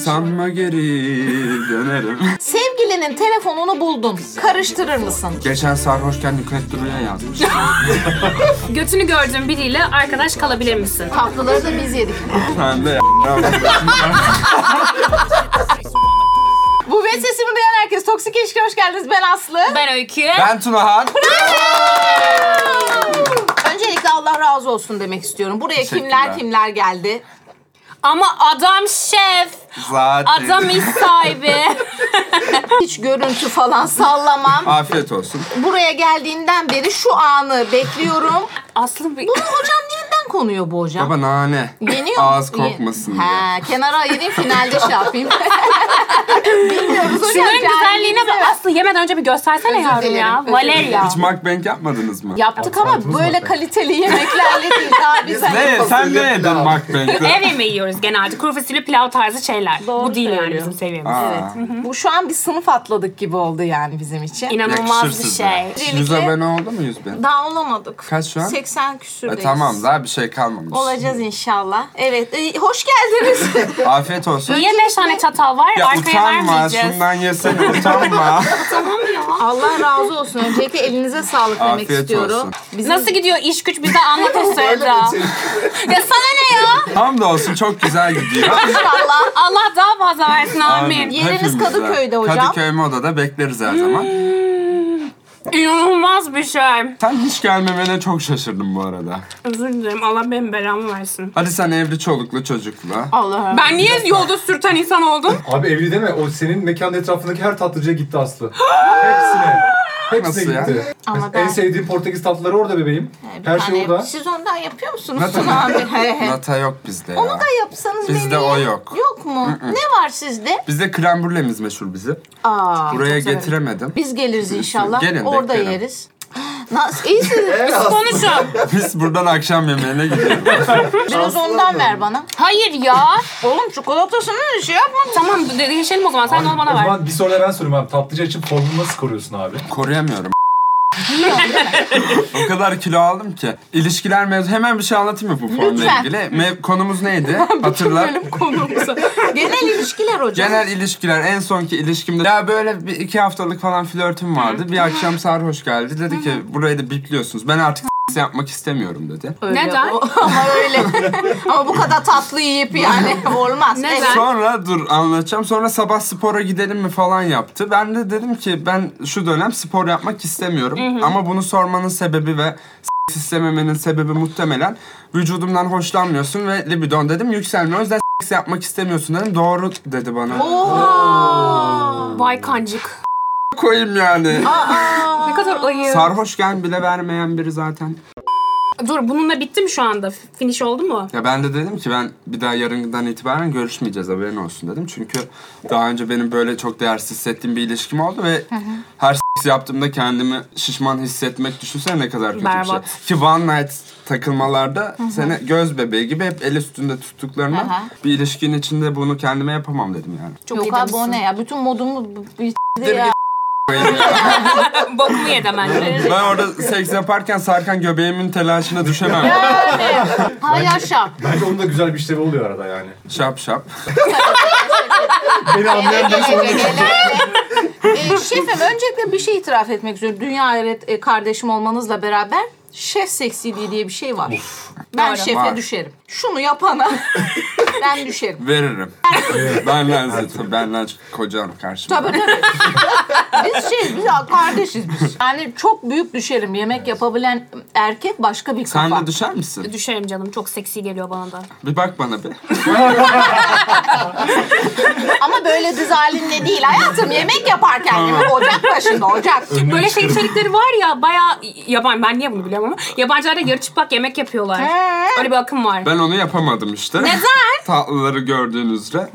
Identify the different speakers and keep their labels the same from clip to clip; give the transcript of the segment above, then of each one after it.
Speaker 1: Sanma geri dönerim.
Speaker 2: Sevgilinin telefonunu buldun. Karıştırır mısın?
Speaker 1: Geçen sarhoşken Nükhet Duru'ya yazmış.
Speaker 3: Götünü gördüğün biriyle arkadaş kalabilir misin?
Speaker 2: Tatlıları da biz yedik.
Speaker 1: Sen de ya.
Speaker 2: Bu ve sesimi duyan herkes. Toksik ilişki hoş geldiniz. Ben Aslı.
Speaker 3: Ben Öykü.
Speaker 1: Ben Tunahan.
Speaker 2: Öncelikle Allah razı olsun demek istiyorum. Buraya kimler
Speaker 1: Teşekkürler.
Speaker 2: kimler geldi?
Speaker 3: Ama adam şef.
Speaker 1: Zaten.
Speaker 3: Adam iş sahibi.
Speaker 2: Hiç görüntü falan sallamam.
Speaker 1: Afiyet olsun.
Speaker 2: Buraya geldiğinden beri şu anı bekliyorum.
Speaker 3: Aslı bir...
Speaker 2: Bunu hocam neden konuyor bu hocam?
Speaker 1: Baba nane.
Speaker 2: Yeniyor mu?
Speaker 1: Ağız korkmasın diye.
Speaker 2: He, kenara ayırayım finalde şey yapayım. Bilmiyoruz hocam.
Speaker 3: Şunların güzelliğine
Speaker 2: cahilliğimize
Speaker 3: bak. Aslı yemeden önce bir göstersene yavrum ya.
Speaker 2: dilerim.
Speaker 3: Valerya.
Speaker 1: Hiç mukbang yapmadınız mı?
Speaker 2: Yaptık ama böyle kaliteli yemeklerle değil daha güzel.
Speaker 1: Ne? Sen ne yedin mukbang'de?
Speaker 3: Ev yemeği yiyoruz genelde. Kuru fasulye pilav tarzı şeyler. Bu değil yani bizim seviyemiz.
Speaker 1: Aa,
Speaker 2: Evet. Bu şu an bir sınıf atladık gibi oldu yani bizim için.
Speaker 3: İnanılmaz
Speaker 1: yakışır
Speaker 3: bir
Speaker 1: size.
Speaker 3: şey.
Speaker 1: Yüz
Speaker 2: Öncelikle-
Speaker 1: abone oldu mu yüz bin?
Speaker 2: Daha olamadık.
Speaker 1: Kaç şu an?
Speaker 2: 80 küsürdeyiz.
Speaker 1: E, tamam daha bir şey kalmamış.
Speaker 2: Olacağız inşallah. Evet. e, hoş geldiniz.
Speaker 1: Afiyet olsun.
Speaker 3: Niye beş tane çatal var?
Speaker 1: Ya
Speaker 3: Arkaya
Speaker 1: utanma
Speaker 3: vermeyeceğiz.
Speaker 1: şundan yesene utanma.
Speaker 2: Allah razı olsun. Öncelikle elinize sağlık demek
Speaker 1: Afiyet
Speaker 2: istiyorum.
Speaker 1: olsun.
Speaker 2: Bizim
Speaker 3: Nasıl gidiyor iş güç bize anlatır Sevda. ya sana ne ya?
Speaker 1: Tam da olsun çok güzel gidiyor.
Speaker 2: inşallah
Speaker 3: Allah daha fazla versin amin.
Speaker 2: Yeriniz
Speaker 1: Hepimiz
Speaker 2: Kadıköy'de
Speaker 1: de.
Speaker 2: hocam.
Speaker 1: Kadıköy Moda'da bekleriz her zaman.
Speaker 3: İnanılmaz bir şey.
Speaker 1: Sen hiç gelmemene çok şaşırdım bu arada.
Speaker 3: Özür dilerim. Allah benim belamı versin.
Speaker 1: Hadi sen evli çoluklu çocuklu.
Speaker 2: Allah'ım.
Speaker 3: Ben niye yolda sürten insan oldum?
Speaker 4: Abi evli deme. O senin mekanın etrafındaki her tatlıcıya gitti Aslı. Hepsine. Hepsine
Speaker 1: Nasıl ya?
Speaker 4: gitti.
Speaker 2: Ama
Speaker 4: En
Speaker 2: ben
Speaker 4: sevdiğim Portekiz tatlıları orada bebeğim.
Speaker 2: bir
Speaker 4: Her
Speaker 2: tane-
Speaker 4: şey orada.
Speaker 2: Siz ondan yapıyor musunuz
Speaker 1: Nata-
Speaker 2: Tuna abi? He he.
Speaker 1: Nata yok bizde
Speaker 2: Onu
Speaker 1: ya.
Speaker 2: da yapsanız
Speaker 1: Bizde
Speaker 2: beni-
Speaker 1: o yok.
Speaker 2: Yok mu? ne var sizde?
Speaker 1: Bizde krem brülemiz meşhur bizim.
Speaker 2: Aa,
Speaker 1: Buraya getiremedim.
Speaker 2: biz geliriz inşallah.
Speaker 1: Gelin,
Speaker 2: Orada
Speaker 1: beklerim.
Speaker 2: yeriz. Nasıl? İyisiniz.
Speaker 3: Konuşun.
Speaker 1: Biz buradan akşam yemeğine gidiyoruz.
Speaker 2: Biraz ondan ver bana.
Speaker 3: Hayır ya.
Speaker 2: Oğlum çikolatasını şey yapma.
Speaker 3: Tamam d- değişelim o zaman. Sen de onu
Speaker 4: o
Speaker 3: bana ver.
Speaker 4: zaman bir soruda ben sorayım abi. Tatlıcı açıp formunu nasıl koruyorsun abi?
Speaker 1: Koruyamıyorum. o kadar kilo aldım ki. İlişkiler mevzu. Hemen bir şey anlatayım mı bu konuyla
Speaker 2: Lütfen.
Speaker 1: ilgili? Mev- konumuz neydi? Hatırla.
Speaker 2: Genel ilişkiler hocam.
Speaker 1: Genel ilişkiler en sonki ilişkimde ya böyle bir iki haftalık falan flörtüm vardı. Bir akşam sarhoş geldi. Dedi ki burayı da bipliyorsunuz. Ben artık s- yapmak istemiyorum dedi.
Speaker 2: Öyle
Speaker 3: Neden?
Speaker 2: o- ama öyle. ama bu kadar tatlı yiyip yani olmaz.
Speaker 3: Neden?
Speaker 2: Evet.
Speaker 1: Sonra dur anlatacağım. Sonra sabah spora gidelim mi falan yaptı. Ben de dedim ki ben şu dönem spor yapmak istemiyorum. Ama bunu sormanın sebebi ve s- istememenin sebebi muhtemelen vücudumdan hoşlanmıyorsun ve libidon dedim yükselmiyor. O yüzden s- yapmak istemiyorsun dedim. Doğru dedi bana.
Speaker 2: Oha!
Speaker 3: Vay kancık.
Speaker 1: Koyayım yani.
Speaker 2: Aa!
Speaker 3: Ne kadar ayı.
Speaker 1: Sarhoşken bile vermeyen biri zaten.
Speaker 3: Dur bununla bitti mi şu anda? F- Finish oldu mu?
Speaker 1: Ya ben de dedim ki ben bir daha yarından itibaren görüşmeyeceğiz haberin olsun dedim. Çünkü daha önce benim böyle çok değersiz hissettiğim bir ilişkim oldu ve her s- yaptığımda kendimi şişman hissetmek düşünsene ne kadar kötü bir
Speaker 3: Berbat.
Speaker 1: şey. Ki one night takılmalarda seni göz bebeği gibi hep el üstünde tuttuklarına
Speaker 2: Aha.
Speaker 1: bir ilişkinin içinde bunu kendime yapamam dedim yani.
Speaker 3: Çok
Speaker 2: Yok
Speaker 3: iyi
Speaker 2: abi o
Speaker 3: demişsin.
Speaker 2: ne ya? Bütün modumu bu- bu-
Speaker 1: Dedim
Speaker 2: ya.
Speaker 1: ki, "Koyayım ya."
Speaker 3: Bokumu yedi hemen.
Speaker 1: ben orada seks yaparken sarkan göbeğimin telaşına düşemem.
Speaker 2: Ha yaşa.
Speaker 4: Bence onun da güzel bir işlevi oluyor arada yani.
Speaker 1: şap şap.
Speaker 4: Beni anlayan birisi olabilir.
Speaker 2: Ee, şefim öncelikle bir şey itiraf etmek istiyorum. Dünya hayret e, kardeşim olmanızla beraber şef seksiliği diye bir şey var. Ben
Speaker 3: Doğru.
Speaker 2: şefe
Speaker 1: Var.
Speaker 2: düşerim. Şunu yapana ben düşerim.
Speaker 1: Veririm. ben lezzetim. Ben lezzetim. Kocam karşıma.
Speaker 2: Tabii tabii. biz şey, biz kardeşiz biz. Yani çok büyük düşerim. Yemek yapabilen erkek başka bir kafa.
Speaker 1: Sen de düşer misin?
Speaker 3: Düşerim canım. Çok seksi geliyor bana da.
Speaker 1: Bir bak bana bir.
Speaker 2: Ama böyle düz halinle değil hayatım. Yemek yaparken gibi ocak başında ocak.
Speaker 3: Böyle şey içerikleri var ya bayağı yaban ben niye bunu biliyorum ama yabancılarda yarı çıplak yemek yapıyorlar.
Speaker 2: He.
Speaker 3: Öyle bir akım var.
Speaker 1: Ben onu yapamadım işte. Neden? Tatlıları gördüğünüzde.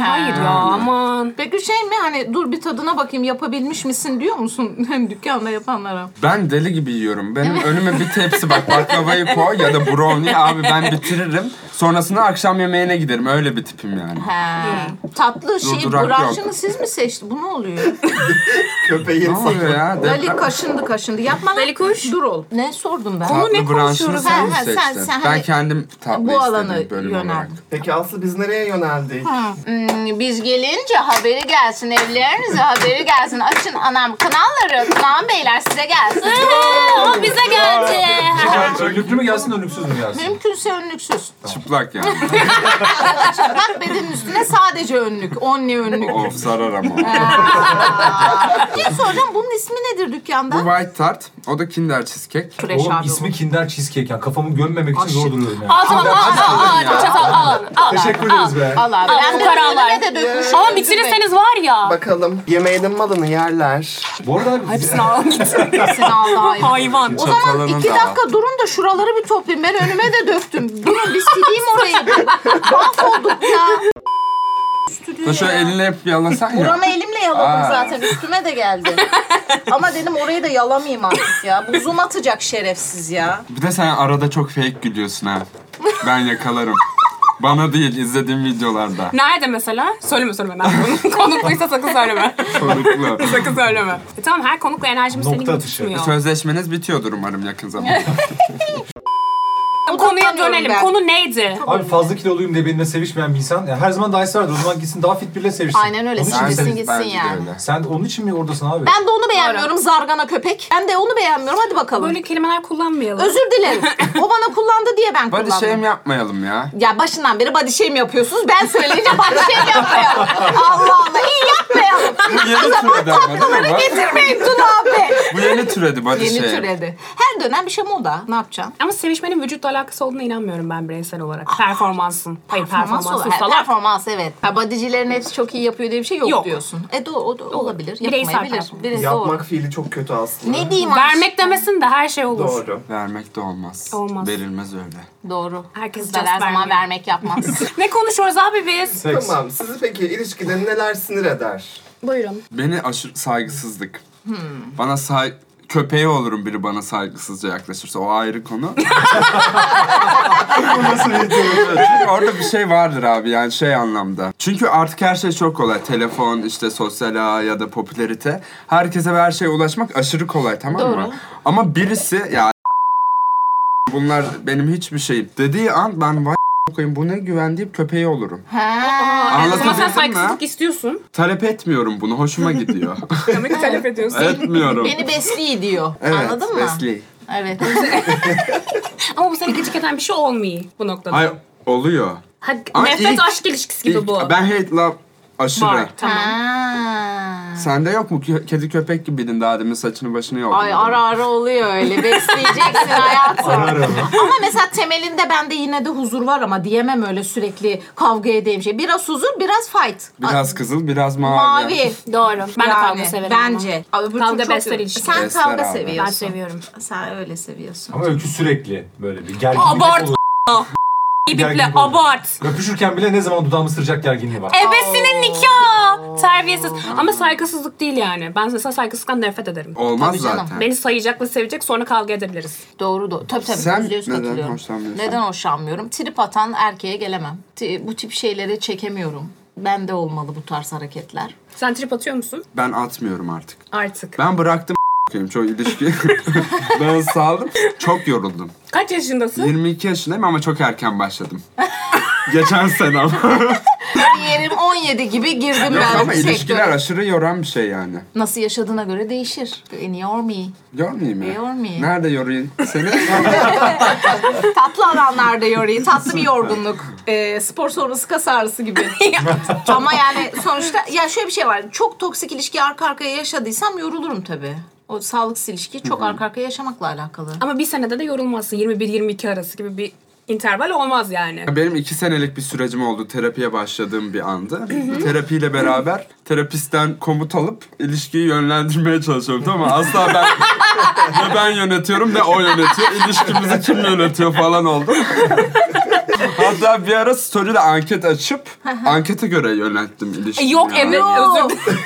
Speaker 3: Hayır ya aman.
Speaker 2: Peki şey mi hani dur bir tadına bakayım yapabilmiş misin diyor musun dükkanda yapanlara?
Speaker 1: Ben deli gibi yiyorum. Benim önüme bir tepsi bak baklavayı koy ya da brownie abi ben bitiririm. Sonrasında akşam yemeğine giderim. Öyle bir tipim yani.
Speaker 2: He. Tatlı şey
Speaker 1: durak
Speaker 2: branşını
Speaker 1: yok.
Speaker 2: siz mi seçti? Bu ne oluyor?
Speaker 1: Ne oluyor ya?
Speaker 2: Dali
Speaker 1: Deprem-
Speaker 2: kaşındı kaşındı. Yapma lan.
Speaker 3: Dali kuş.
Speaker 2: Dur ol. Ne sordum ben?
Speaker 1: Tatlı
Speaker 3: ne
Speaker 1: branşını
Speaker 3: konuşuyoruz?
Speaker 1: sen
Speaker 2: Ha,
Speaker 1: mi
Speaker 2: ha, sen-
Speaker 1: seçtin?
Speaker 2: sen
Speaker 1: ben
Speaker 2: hani
Speaker 1: kendim tatlı
Speaker 2: bu alanı
Speaker 1: istedim bölüm
Speaker 2: yönel.
Speaker 1: olarak.
Speaker 5: Peki Aslı biz nereye yöneldik?
Speaker 2: Hmm, hmm, biz gelince haberi gelsin evlerinize haberi gelsin. Açın anam kanalları kanal beyler size gelsin.
Speaker 5: o bize geldi.
Speaker 4: Yani önlüklü mü gelsin, önlüksüz mü gelsin?
Speaker 2: Mümkünse önlüksüz.
Speaker 1: Çıplak yani.
Speaker 2: Bak bedenin üstüne sadece önlük. Only önlük.
Speaker 1: of sarar ama.
Speaker 2: Ne soracağım bunun ismi nedir
Speaker 1: Bu
Speaker 2: dükkanda?
Speaker 1: white tart. O da kinder cheesecake.
Speaker 3: Fresh
Speaker 4: Oğlum
Speaker 3: abi bu.
Speaker 4: ismi Kinder Cheesecake yani. Kafamı gömmemek için zor duruyorum yani.
Speaker 3: Al tamam al al al. Çatal al. al.
Speaker 4: Teşekkür ederiz be.
Speaker 2: Allah
Speaker 3: Al,
Speaker 2: ben de
Speaker 3: fukaralar.
Speaker 2: üzerine de dökmüşüm.
Speaker 5: Şey
Speaker 3: Ama bitirirseniz var ya.
Speaker 6: Bakalım. Yemeğinin malını yerler.
Speaker 4: Bu arada abi,
Speaker 3: Hepsini al git.
Speaker 2: Hepsini aldı hayvan.
Speaker 3: Hayvan.
Speaker 2: O zaman
Speaker 1: Çatalını
Speaker 2: iki
Speaker 1: da
Speaker 2: dakika durun da şuraları bir toplayayım. Ben önüme de döktüm. Durun bir sileyim orayı. bir. Mahvolduk ya.
Speaker 1: Da şöyle eline hep yalasan ya.
Speaker 2: Buramı elimle yaladım
Speaker 1: Aa.
Speaker 2: zaten. Üstüme de geldi. Ama dedim orayı da yalamayayım artık ya. Bu zoom atacak şerefsiz ya.
Speaker 1: Bir de sen arada çok fake gülüyorsun ha. Ben yakalarım. Bana değil izlediğim videolarda.
Speaker 3: Nerede mesela? Söyleme söyleme. Ben bunu- Konukluysa sakın söyleme.
Speaker 1: Konuklu.
Speaker 3: Sakın söyleme. E tamam her konukla enerjimiz senin
Speaker 4: Nokta
Speaker 3: gibi
Speaker 4: atışı.
Speaker 3: tutmuyor.
Speaker 1: Sözleşmeniz bitiyordur umarım yakın zamanda.
Speaker 3: Konuya dönelim.
Speaker 2: ben.
Speaker 3: Konu neydi?
Speaker 4: abi fazla kiloluyum diye benimle sevişmeyen bir insan. Yani her zaman daha isterdi. O zaman gitsin daha fit biriyle sevişsin.
Speaker 2: Aynen öyle.
Speaker 4: Onun için mi
Speaker 2: Sevişsin,
Speaker 4: sen-
Speaker 2: gitsin
Speaker 1: Bence de
Speaker 2: yani.
Speaker 1: öyle.
Speaker 4: Sen onun için mi oradasın abi?
Speaker 2: Ben de onu beğenmiyorum zargana köpek. Ben de onu beğenmiyorum. Hadi bakalım.
Speaker 3: Böyle kelimeler kullanmayalım.
Speaker 2: Özür dilerim. O bana kullandı diye ben
Speaker 1: Body
Speaker 2: kullandım.
Speaker 1: shame yapmayalım ya.
Speaker 2: Ya başından beri body shame yapıyorsunuz. Ben söyleyince body shame yapmayalım. Allah Allah. iyi yapmayalım.
Speaker 1: Bu yeni türedi ama değil mi? bu?
Speaker 2: Getirmeyin Tuna abi.
Speaker 1: Bu yeni türedi body
Speaker 2: Yeni
Speaker 1: shame.
Speaker 2: türedi. Her dönem bir şey moda. Ne yapacaksın?
Speaker 3: Ama sevişmenin vücutla alakası olduğuna inanmıyorum ben bireysel olarak. Performansın. Hayır performansın.
Speaker 2: olarak-
Speaker 3: Salak.
Speaker 2: Performans evet. Ha, bodycilerin hepsi çok iyi yapıyor diye bir şey yok,
Speaker 3: Yok.
Speaker 2: diyorsun. E do, o da olabilir.
Speaker 3: Bireysel
Speaker 2: Yapmayabilir.
Speaker 3: performans.
Speaker 2: Birisi
Speaker 6: Yapmak
Speaker 2: doğru.
Speaker 6: fiili çok kötü aslında.
Speaker 2: Ne diyeyim
Speaker 3: Vermek demesin de her şey olur.
Speaker 6: Doğru.
Speaker 1: Vermek de olmaz.
Speaker 3: Olmaz.
Speaker 1: Verilmez öyle.
Speaker 2: Doğru.
Speaker 3: Herkes
Speaker 2: Kızlar
Speaker 3: just
Speaker 2: her zaman
Speaker 3: vermiyor.
Speaker 2: vermek yapmaz.
Speaker 3: Ne konuşuyoruz abi biz?
Speaker 4: Seks.
Speaker 6: Tamam. Sizi peki ilişkide neler sinir eder?
Speaker 3: Buyurun.
Speaker 1: Beni aşırı saygısızlık.
Speaker 2: Hmm.
Speaker 1: Bana say köpeği olurum biri bana saygısızca yaklaşırsa. O ayrı konu.
Speaker 4: Nasıl bir teori?
Speaker 1: Çünkü orada bir şey vardır abi yani şey anlamda. Çünkü artık her şey çok kolay. Telefon, işte sosyal ağ ya da popülerite. Herkese ve her şeye ulaşmak aşırı kolay tamam mı?
Speaker 2: Doğru.
Speaker 1: Ama birisi ya bunlar benim hiçbir şeyim dediği an ben vay koyayım bu ne güven deyip köpeği olurum.
Speaker 2: ha.
Speaker 3: Ama sen
Speaker 1: Anlatabildim mi?
Speaker 3: saygısızlık istiyorsun.
Speaker 1: Talep etmiyorum bunu. Hoşuma gidiyor.
Speaker 3: Demek ki talep ediyorsun.
Speaker 1: Etmiyorum.
Speaker 2: Beni besliyor diyor.
Speaker 1: Evet,
Speaker 2: Anladın mı?
Speaker 1: Wesley.
Speaker 2: Evet.
Speaker 3: Ama bu seni gıcık eden bir şey olmuyor bu noktada.
Speaker 1: Ay oluyor.
Speaker 3: Ha,
Speaker 1: Ama
Speaker 3: nefret
Speaker 1: ilk-
Speaker 3: aşk ilişkisi gibi
Speaker 1: İlk-
Speaker 3: bu.
Speaker 1: Ben hate love aşırı.
Speaker 3: Var tamam.
Speaker 2: ha.
Speaker 1: Sende yok mu? Kö- Kedi köpek gibiydin daha demin saçını başını yoldun.
Speaker 2: Ay ara ara oluyor öyle. Besleyeceksin hayatım. Ama mesela temelinde bende yine de huzur var ama diyemem öyle sürekli kavga edeyim şey. Biraz huzur, biraz fight.
Speaker 1: Biraz kızıl, biraz mavi.
Speaker 2: Mavi.
Speaker 3: Doğru. Ben de kavga severim. ama.
Speaker 2: Bence. Ama. öbür türlü
Speaker 3: Kavga
Speaker 2: çok-
Speaker 3: besler ilişki.
Speaker 2: Sen
Speaker 1: Besler
Speaker 2: kavga
Speaker 1: abi.
Speaker 3: Ben
Speaker 2: seviyorsun.
Speaker 3: seviyorum.
Speaker 2: Sen öyle seviyorsun.
Speaker 4: Ama öykü sürekli böyle bir gerginlik
Speaker 3: Abart.
Speaker 4: olur.
Speaker 3: İbiple
Speaker 4: Gergin konu.
Speaker 3: abart.
Speaker 4: Öpüşürken bile ne zaman dudağımı ısıracak gerginliği var.
Speaker 3: Ebesinin nikahı. Terbiyesiz. Ama saygısızlık değil yani. Ben mesela saygısızlıktan nefret ederim.
Speaker 1: Olmaz
Speaker 2: Tabii canım.
Speaker 1: zaten.
Speaker 3: Beni sayacak ve sevecek sonra kavga edebiliriz.
Speaker 2: Doğru doğru. Tabii tabii.
Speaker 1: Sen
Speaker 2: yüzde yüz
Speaker 1: neden
Speaker 2: katılıyorum.
Speaker 1: hoşlanmıyorsun?
Speaker 2: Neden hoşlanmıyorum? Trip atan erkeğe gelemem. Ti- Bu tip şeylere çekemiyorum. Bende olmalı bu tarz hareketler.
Speaker 3: Sen trip atıyor musun?
Speaker 1: Ben atmıyorum artık.
Speaker 3: Artık.
Speaker 1: Ben bıraktım a**ayım, çok ilişki. ben saldım. Çok yoruldum.
Speaker 3: Kaç yaşındasın?
Speaker 1: 22 yaşındayım ama çok erken başladım. Geçen sene ama.
Speaker 2: Yerim 17 gibi girdim
Speaker 1: Yok
Speaker 2: ben şey
Speaker 1: ama
Speaker 2: bu
Speaker 1: ilişkiler
Speaker 2: sektöre.
Speaker 1: aşırı yoran bir şey yani.
Speaker 2: Nasıl yaşadığına göre değişir. In your me.
Speaker 1: Yormayayım ya.
Speaker 2: E, Yormayayım.
Speaker 1: Nerede yorayım seni?
Speaker 2: Tatlı alanlarda yoruyor. Tatlı bir yorgunluk. Ee, spor sonrası kas ağrısı gibi. Ama yani sonuçta ya şöyle bir şey var. Çok toksik ilişki arka arkaya yaşadıysam yorulurum tabii. O sağlıksız ilişki çok arka arkaya yaşamakla alakalı.
Speaker 3: Ama bir senede de yorulmazsın. 21-22 arası gibi bir interval olmaz yani.
Speaker 1: Benim iki senelik bir sürecim oldu. Terapiye başladığım bir andı. Terapiyle beraber terapistten komut alıp ilişkiyi yönlendirmeye çalışıyordum ama asla ben ne ben yönetiyorum ne o yönetiyor. İlişkimizi kim yönetiyor falan oldu. Hatta bir ara story'de anket açıp ankete göre yönettim
Speaker 3: E,
Speaker 1: ilişkiyi.
Speaker 3: Yok
Speaker 1: yani.
Speaker 3: evet özür dilerim.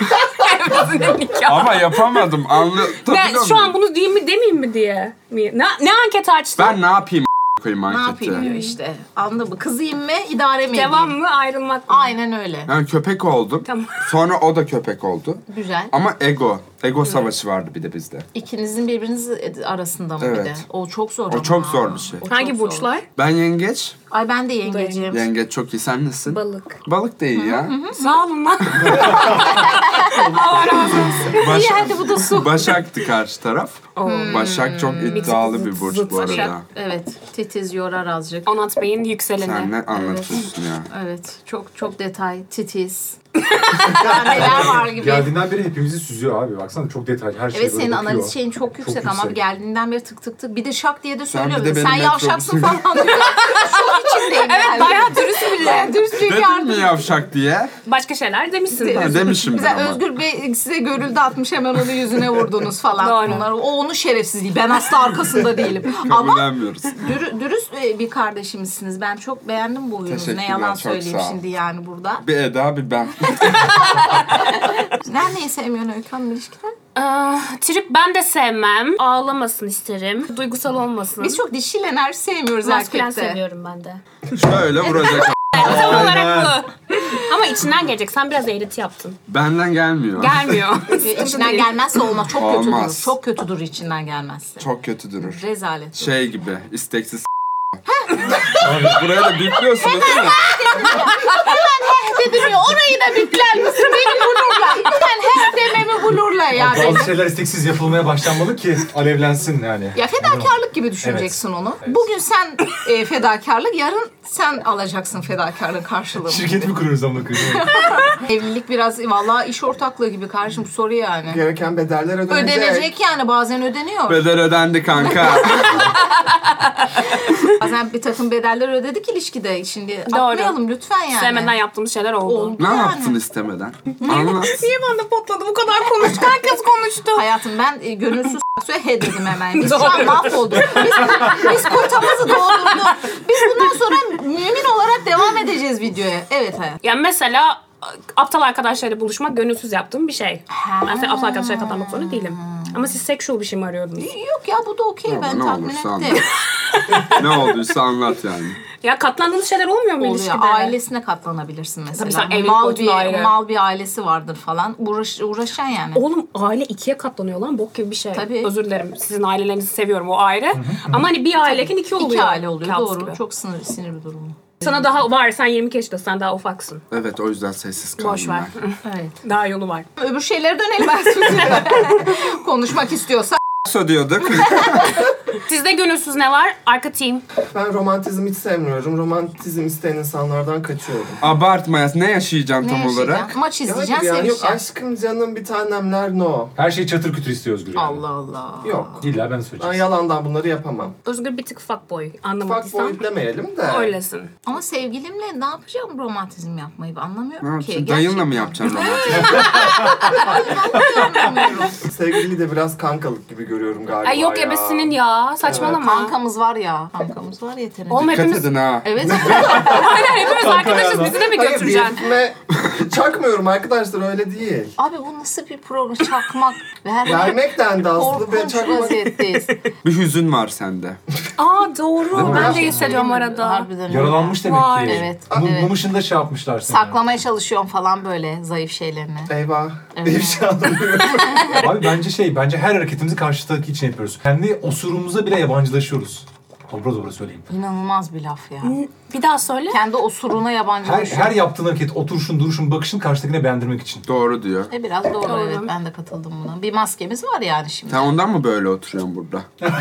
Speaker 3: Ebesinin nikahı.
Speaker 1: Ama yapamadım. Anlı...
Speaker 3: Ben şu an bunu diyeyim mi demeyeyim mi diye. mi? Ne, ne anket açtın?
Speaker 1: Ben ne yapayım koyayım
Speaker 2: Ne
Speaker 1: markette.
Speaker 2: yapayım diyor işte. Anladın mı? Kızayım mı? idare mi
Speaker 3: Devam
Speaker 2: edeyim?
Speaker 3: mı ayrılmak mı?
Speaker 2: Aynen öyle.
Speaker 1: Yani köpek oldum.
Speaker 3: Tamam.
Speaker 1: Sonra o da köpek oldu.
Speaker 2: Güzel.
Speaker 1: Ama ego. Ego savaşı vardı bir de bizde.
Speaker 2: İkinizin birbiriniz arasında mı bir
Speaker 1: Evet.
Speaker 2: de? O çok zor ama.
Speaker 1: çok zor bir şey.
Speaker 2: O çok
Speaker 3: Hangi
Speaker 2: zor.
Speaker 3: burçlar?
Speaker 1: Ben yengeç.
Speaker 2: Ay ben de yengecim.
Speaker 1: Yengeç çok iyi. Sen nesin?
Speaker 3: Balık.
Speaker 1: Balık da iyi ya.
Speaker 3: Sağ olun lan.
Speaker 1: Baş-
Speaker 2: hadi bu da su.
Speaker 1: Başak'tı karşı taraf. Başak çok iddialı bir burç
Speaker 3: zıt
Speaker 1: bu
Speaker 3: Başak.
Speaker 1: arada.
Speaker 2: Evet. Titiz yorar azıcık.
Speaker 3: Onat Bey'in yükseleni.
Speaker 1: Sen ne anlatıyorsun ya?
Speaker 2: Evet. Çok çok detay. Titiz. Daha neler var gibi.
Speaker 1: şey
Speaker 4: Geldiğinden beri hepimizi süzüyor abi. Baksana çok detaylı her şey
Speaker 2: Evet
Speaker 4: böyle
Speaker 2: senin
Speaker 4: bakıyor.
Speaker 2: analiz şeyin çok yüksek ama
Speaker 4: yüksek.
Speaker 2: geldiğinden beri tık tık tık. Bir de şak diye de
Speaker 1: bir
Speaker 2: söylüyorum.
Speaker 1: de
Speaker 2: Sen,
Speaker 1: benim
Speaker 2: yavşaksın
Speaker 1: metrobüsüm.
Speaker 2: falan diyor. Şok içindeyim yani.
Speaker 3: Bayağı dürüst bile.
Speaker 2: Dürüst bir
Speaker 1: Dedim
Speaker 2: yardım.
Speaker 1: mi yavşak diye?
Speaker 3: Başka şeyler demişsin.
Speaker 1: Ha, Demişim ben
Speaker 2: Mesela
Speaker 1: ama.
Speaker 2: Özgür Bey size görüldü atmış hemen onu yüzüne vurdunuz falan.
Speaker 3: Doğru.
Speaker 2: Bunlar, o onun şerefsizliği. Ben asla arkasında değilim. ama
Speaker 1: Kabullenmiyoruz.
Speaker 2: dürü- dürüst bir kardeşimsiniz. Ben çok beğendim bu huyunuzu. Ne
Speaker 1: Teşekkürler,
Speaker 2: yalan
Speaker 1: çok
Speaker 2: söyleyeyim
Speaker 1: sağ ol.
Speaker 2: şimdi yani burada.
Speaker 1: Bir Eda bir ben.
Speaker 2: Sen neyi sevmiyorsun Öykü Hanım ilişkide?
Speaker 3: Ah, Trip ben de sevmem. Ağlamasın isterim. Duygusal olmasın.
Speaker 2: Biz çok dişil enerji sevmiyoruz
Speaker 5: Maskülen
Speaker 2: erkekte.
Speaker 5: seviyorum ben de.
Speaker 1: Şöyle vuracak.
Speaker 3: Tam olarak bu. Ama içinden gelecek. Sen biraz eğreti yaptın.
Speaker 1: Benden gelmiyor.
Speaker 3: Gelmiyor.
Speaker 2: Ee, İçinden gelmezse olmaz. Çok kötü durur.
Speaker 1: Olmaz.
Speaker 2: Çok kötü durur içinden gelmezse.
Speaker 1: Çok kötü durur.
Speaker 2: Rezalet.
Speaker 1: Şey gibi isteksiz Abi buraya da bipliyorsunuz değil mi?
Speaker 2: Dedim ya E, orayı da bipler misin? Beni bulurlar. Ben her dememi bulurlar ya. beni.
Speaker 4: Bazı şeyler isteksiz yapılmaya başlanmalı ki alevlensin yani.
Speaker 2: Ya fedakarlık gibi düşüneceksin onu. Bugün sen e, fedakarlık, yarın sen alacaksın fedakarlığın karşılığını.
Speaker 4: Şirketi mi kuruyoruz amına koyayım?
Speaker 2: Evlilik biraz e, vallahi iş ortaklığı gibi kardeşim soru yani.
Speaker 6: Gereken bedeller ödenecek.
Speaker 2: Ödenecek yani bazen ödeniyor.
Speaker 1: Bedel ödendi kanka.
Speaker 2: Bazen bir takım bedeller ödedik ilişkide. Şimdi
Speaker 3: Doğru.
Speaker 2: atmayalım lütfen yani.
Speaker 3: Sevmeden yaptığımız şeyler oldu.
Speaker 2: Oldu
Speaker 1: ne
Speaker 2: yani.
Speaker 1: yaptın istemeden? Anlat.
Speaker 3: Niye bana patladı? Bu kadar konuştu. Herkes konuştu.
Speaker 2: Hayatım ben e, gönülsüz söyle he dedim hemen. Biz şu an mahvolduk. Biz, biz kotamızı doldurduk. Biz bundan sonra mümin olarak devam edeceğiz videoya. Evet hayat.
Speaker 3: Yani mesela ıı, aptal arkadaşlarla buluşmak gönülsüz yaptığım bir şey. Ben seni aptal arkadaşlara katlanmak zorunda değilim.
Speaker 2: Hmm.
Speaker 3: Ama siz sexual bir şey mi arıyordunuz?
Speaker 2: Yok ya bu da okey ben
Speaker 1: ne
Speaker 2: tahmin
Speaker 1: olursa
Speaker 2: ettim.
Speaker 1: anlat. ne olduysa anlat yani.
Speaker 3: Ya katlandığınız şeyler olmuyor mu
Speaker 2: Oluyor.
Speaker 3: ilişkide?
Speaker 2: Ailesine katlanabilirsin mesela.
Speaker 3: Tabii sen evlilik
Speaker 2: mal
Speaker 3: boyutu
Speaker 2: bir
Speaker 3: ayrı.
Speaker 2: mal bir ailesi vardır falan. Uğraş, uğraşan yani.
Speaker 3: Oğlum aile ikiye katlanıyor lan bok gibi bir şey.
Speaker 2: Tabii.
Speaker 3: Özür dilerim. Sizin ailelerinizi seviyorum o ayrı. Ama hani bir aileyken iki oluyor.
Speaker 2: İki aile oluyor
Speaker 3: Kaos
Speaker 2: doğru.
Speaker 3: gibi.
Speaker 2: Çok sinir sinir bir durum.
Speaker 3: Sana daha var. Sen 22 yaşındasın. Sen daha ufaksın.
Speaker 1: Evet o yüzden sessiz kaldım.
Speaker 3: Boş ver.
Speaker 1: ben.
Speaker 2: Evet.
Speaker 3: daha yolu var.
Speaker 2: Öbür şeylere dönelim ben size. Konuşmak istiyorsa.
Speaker 1: Kısa diyorduk.
Speaker 3: Sizde gönülsüz ne var? Arka team.
Speaker 6: Ben romantizm hiç sevmiyorum. Romantizm isteyen insanlardan kaçıyorum.
Speaker 1: Abartmayas. Ne yaşayacaksın
Speaker 2: Ne
Speaker 1: tam olarak?
Speaker 2: yaşayacaksın? Maç izleyeceksin,
Speaker 6: Hayır ya, yok
Speaker 2: sevişeceksin.
Speaker 6: aşkım canım bir tanemler no.
Speaker 4: Her şey çatır kütür istiyor Özgür yani.
Speaker 2: Allah Allah.
Speaker 6: Yok.
Speaker 4: İlla ben
Speaker 6: Ben
Speaker 4: söyleyeceğim.
Speaker 6: yalandan bunları yapamam.
Speaker 3: Özgür bir tık fuckboy.
Speaker 6: Bak
Speaker 3: Anlamadıysan.
Speaker 6: boyutlamayalım de.
Speaker 3: Öylesin.
Speaker 2: Ama sevgilimle ne yapacağım romantizm yapmayı Ben
Speaker 1: Ne
Speaker 2: anlamıyorum ki.
Speaker 1: yapacaksın? Dayınla mı yapacaksın romantizm?
Speaker 2: Gerçekten anlamıyorum.
Speaker 6: Sevgiliyi de biraz kankalık gibi görüyorum galiba
Speaker 3: Ay yok ebesinin ya. Saçmalama.
Speaker 2: Kankamız var ya. Kankamız var yeterince.
Speaker 3: Oğlum
Speaker 1: Dikkat
Speaker 3: hepimiz,
Speaker 1: edin ha.
Speaker 2: Evet.
Speaker 3: aynen hepimiz arkadaşız.
Speaker 4: ayağına.
Speaker 3: Bizi de mi
Speaker 6: Hayır bir
Speaker 3: götüreceksin?
Speaker 6: herifime çakmıyorum arkadaşlar öyle değil.
Speaker 2: Abi bu nasıl bir program? Çakmak. Ver.
Speaker 6: Vermekten de aslında ben
Speaker 2: Korkunç
Speaker 6: çakmak
Speaker 2: vaziyetteyiz.
Speaker 1: Bir hüzün var sende.
Speaker 3: Aa doğru. Ben de hissediyorum arada.
Speaker 2: Harbiden öyle.
Speaker 4: Yaralanmış demek
Speaker 3: Vay.
Speaker 4: ki.
Speaker 2: Evet,
Speaker 4: Mum-
Speaker 2: evet.
Speaker 4: Mumış'ın da şey yapmışlar sana.
Speaker 2: Saklamaya çalışıyorum falan böyle zayıf şeylerini.
Speaker 6: Eyvah. şey
Speaker 2: Evet.
Speaker 6: İfşa oluyor.
Speaker 4: Abi bence şey, bence her hareketimizi karşıdaki için yapıyoruz. Kendi osurumuza bile yabancılaşıyoruz. Dobra dobra söyleyeyim.
Speaker 2: İnanılmaz bir laf ya.
Speaker 3: Bir daha söyle.
Speaker 2: Kendi osuruna
Speaker 4: Her,
Speaker 2: yabancılaşıyor.
Speaker 4: her yaptığın hareket, oturuşun, duruşun, bakışın karşıdakine beğendirmek için.
Speaker 1: Doğru diyor.
Speaker 2: E biraz doğru, evet ben de katıldım buna. Bir maskemiz var yani şimdi.
Speaker 1: Sen ondan mı böyle oturuyorsun burada?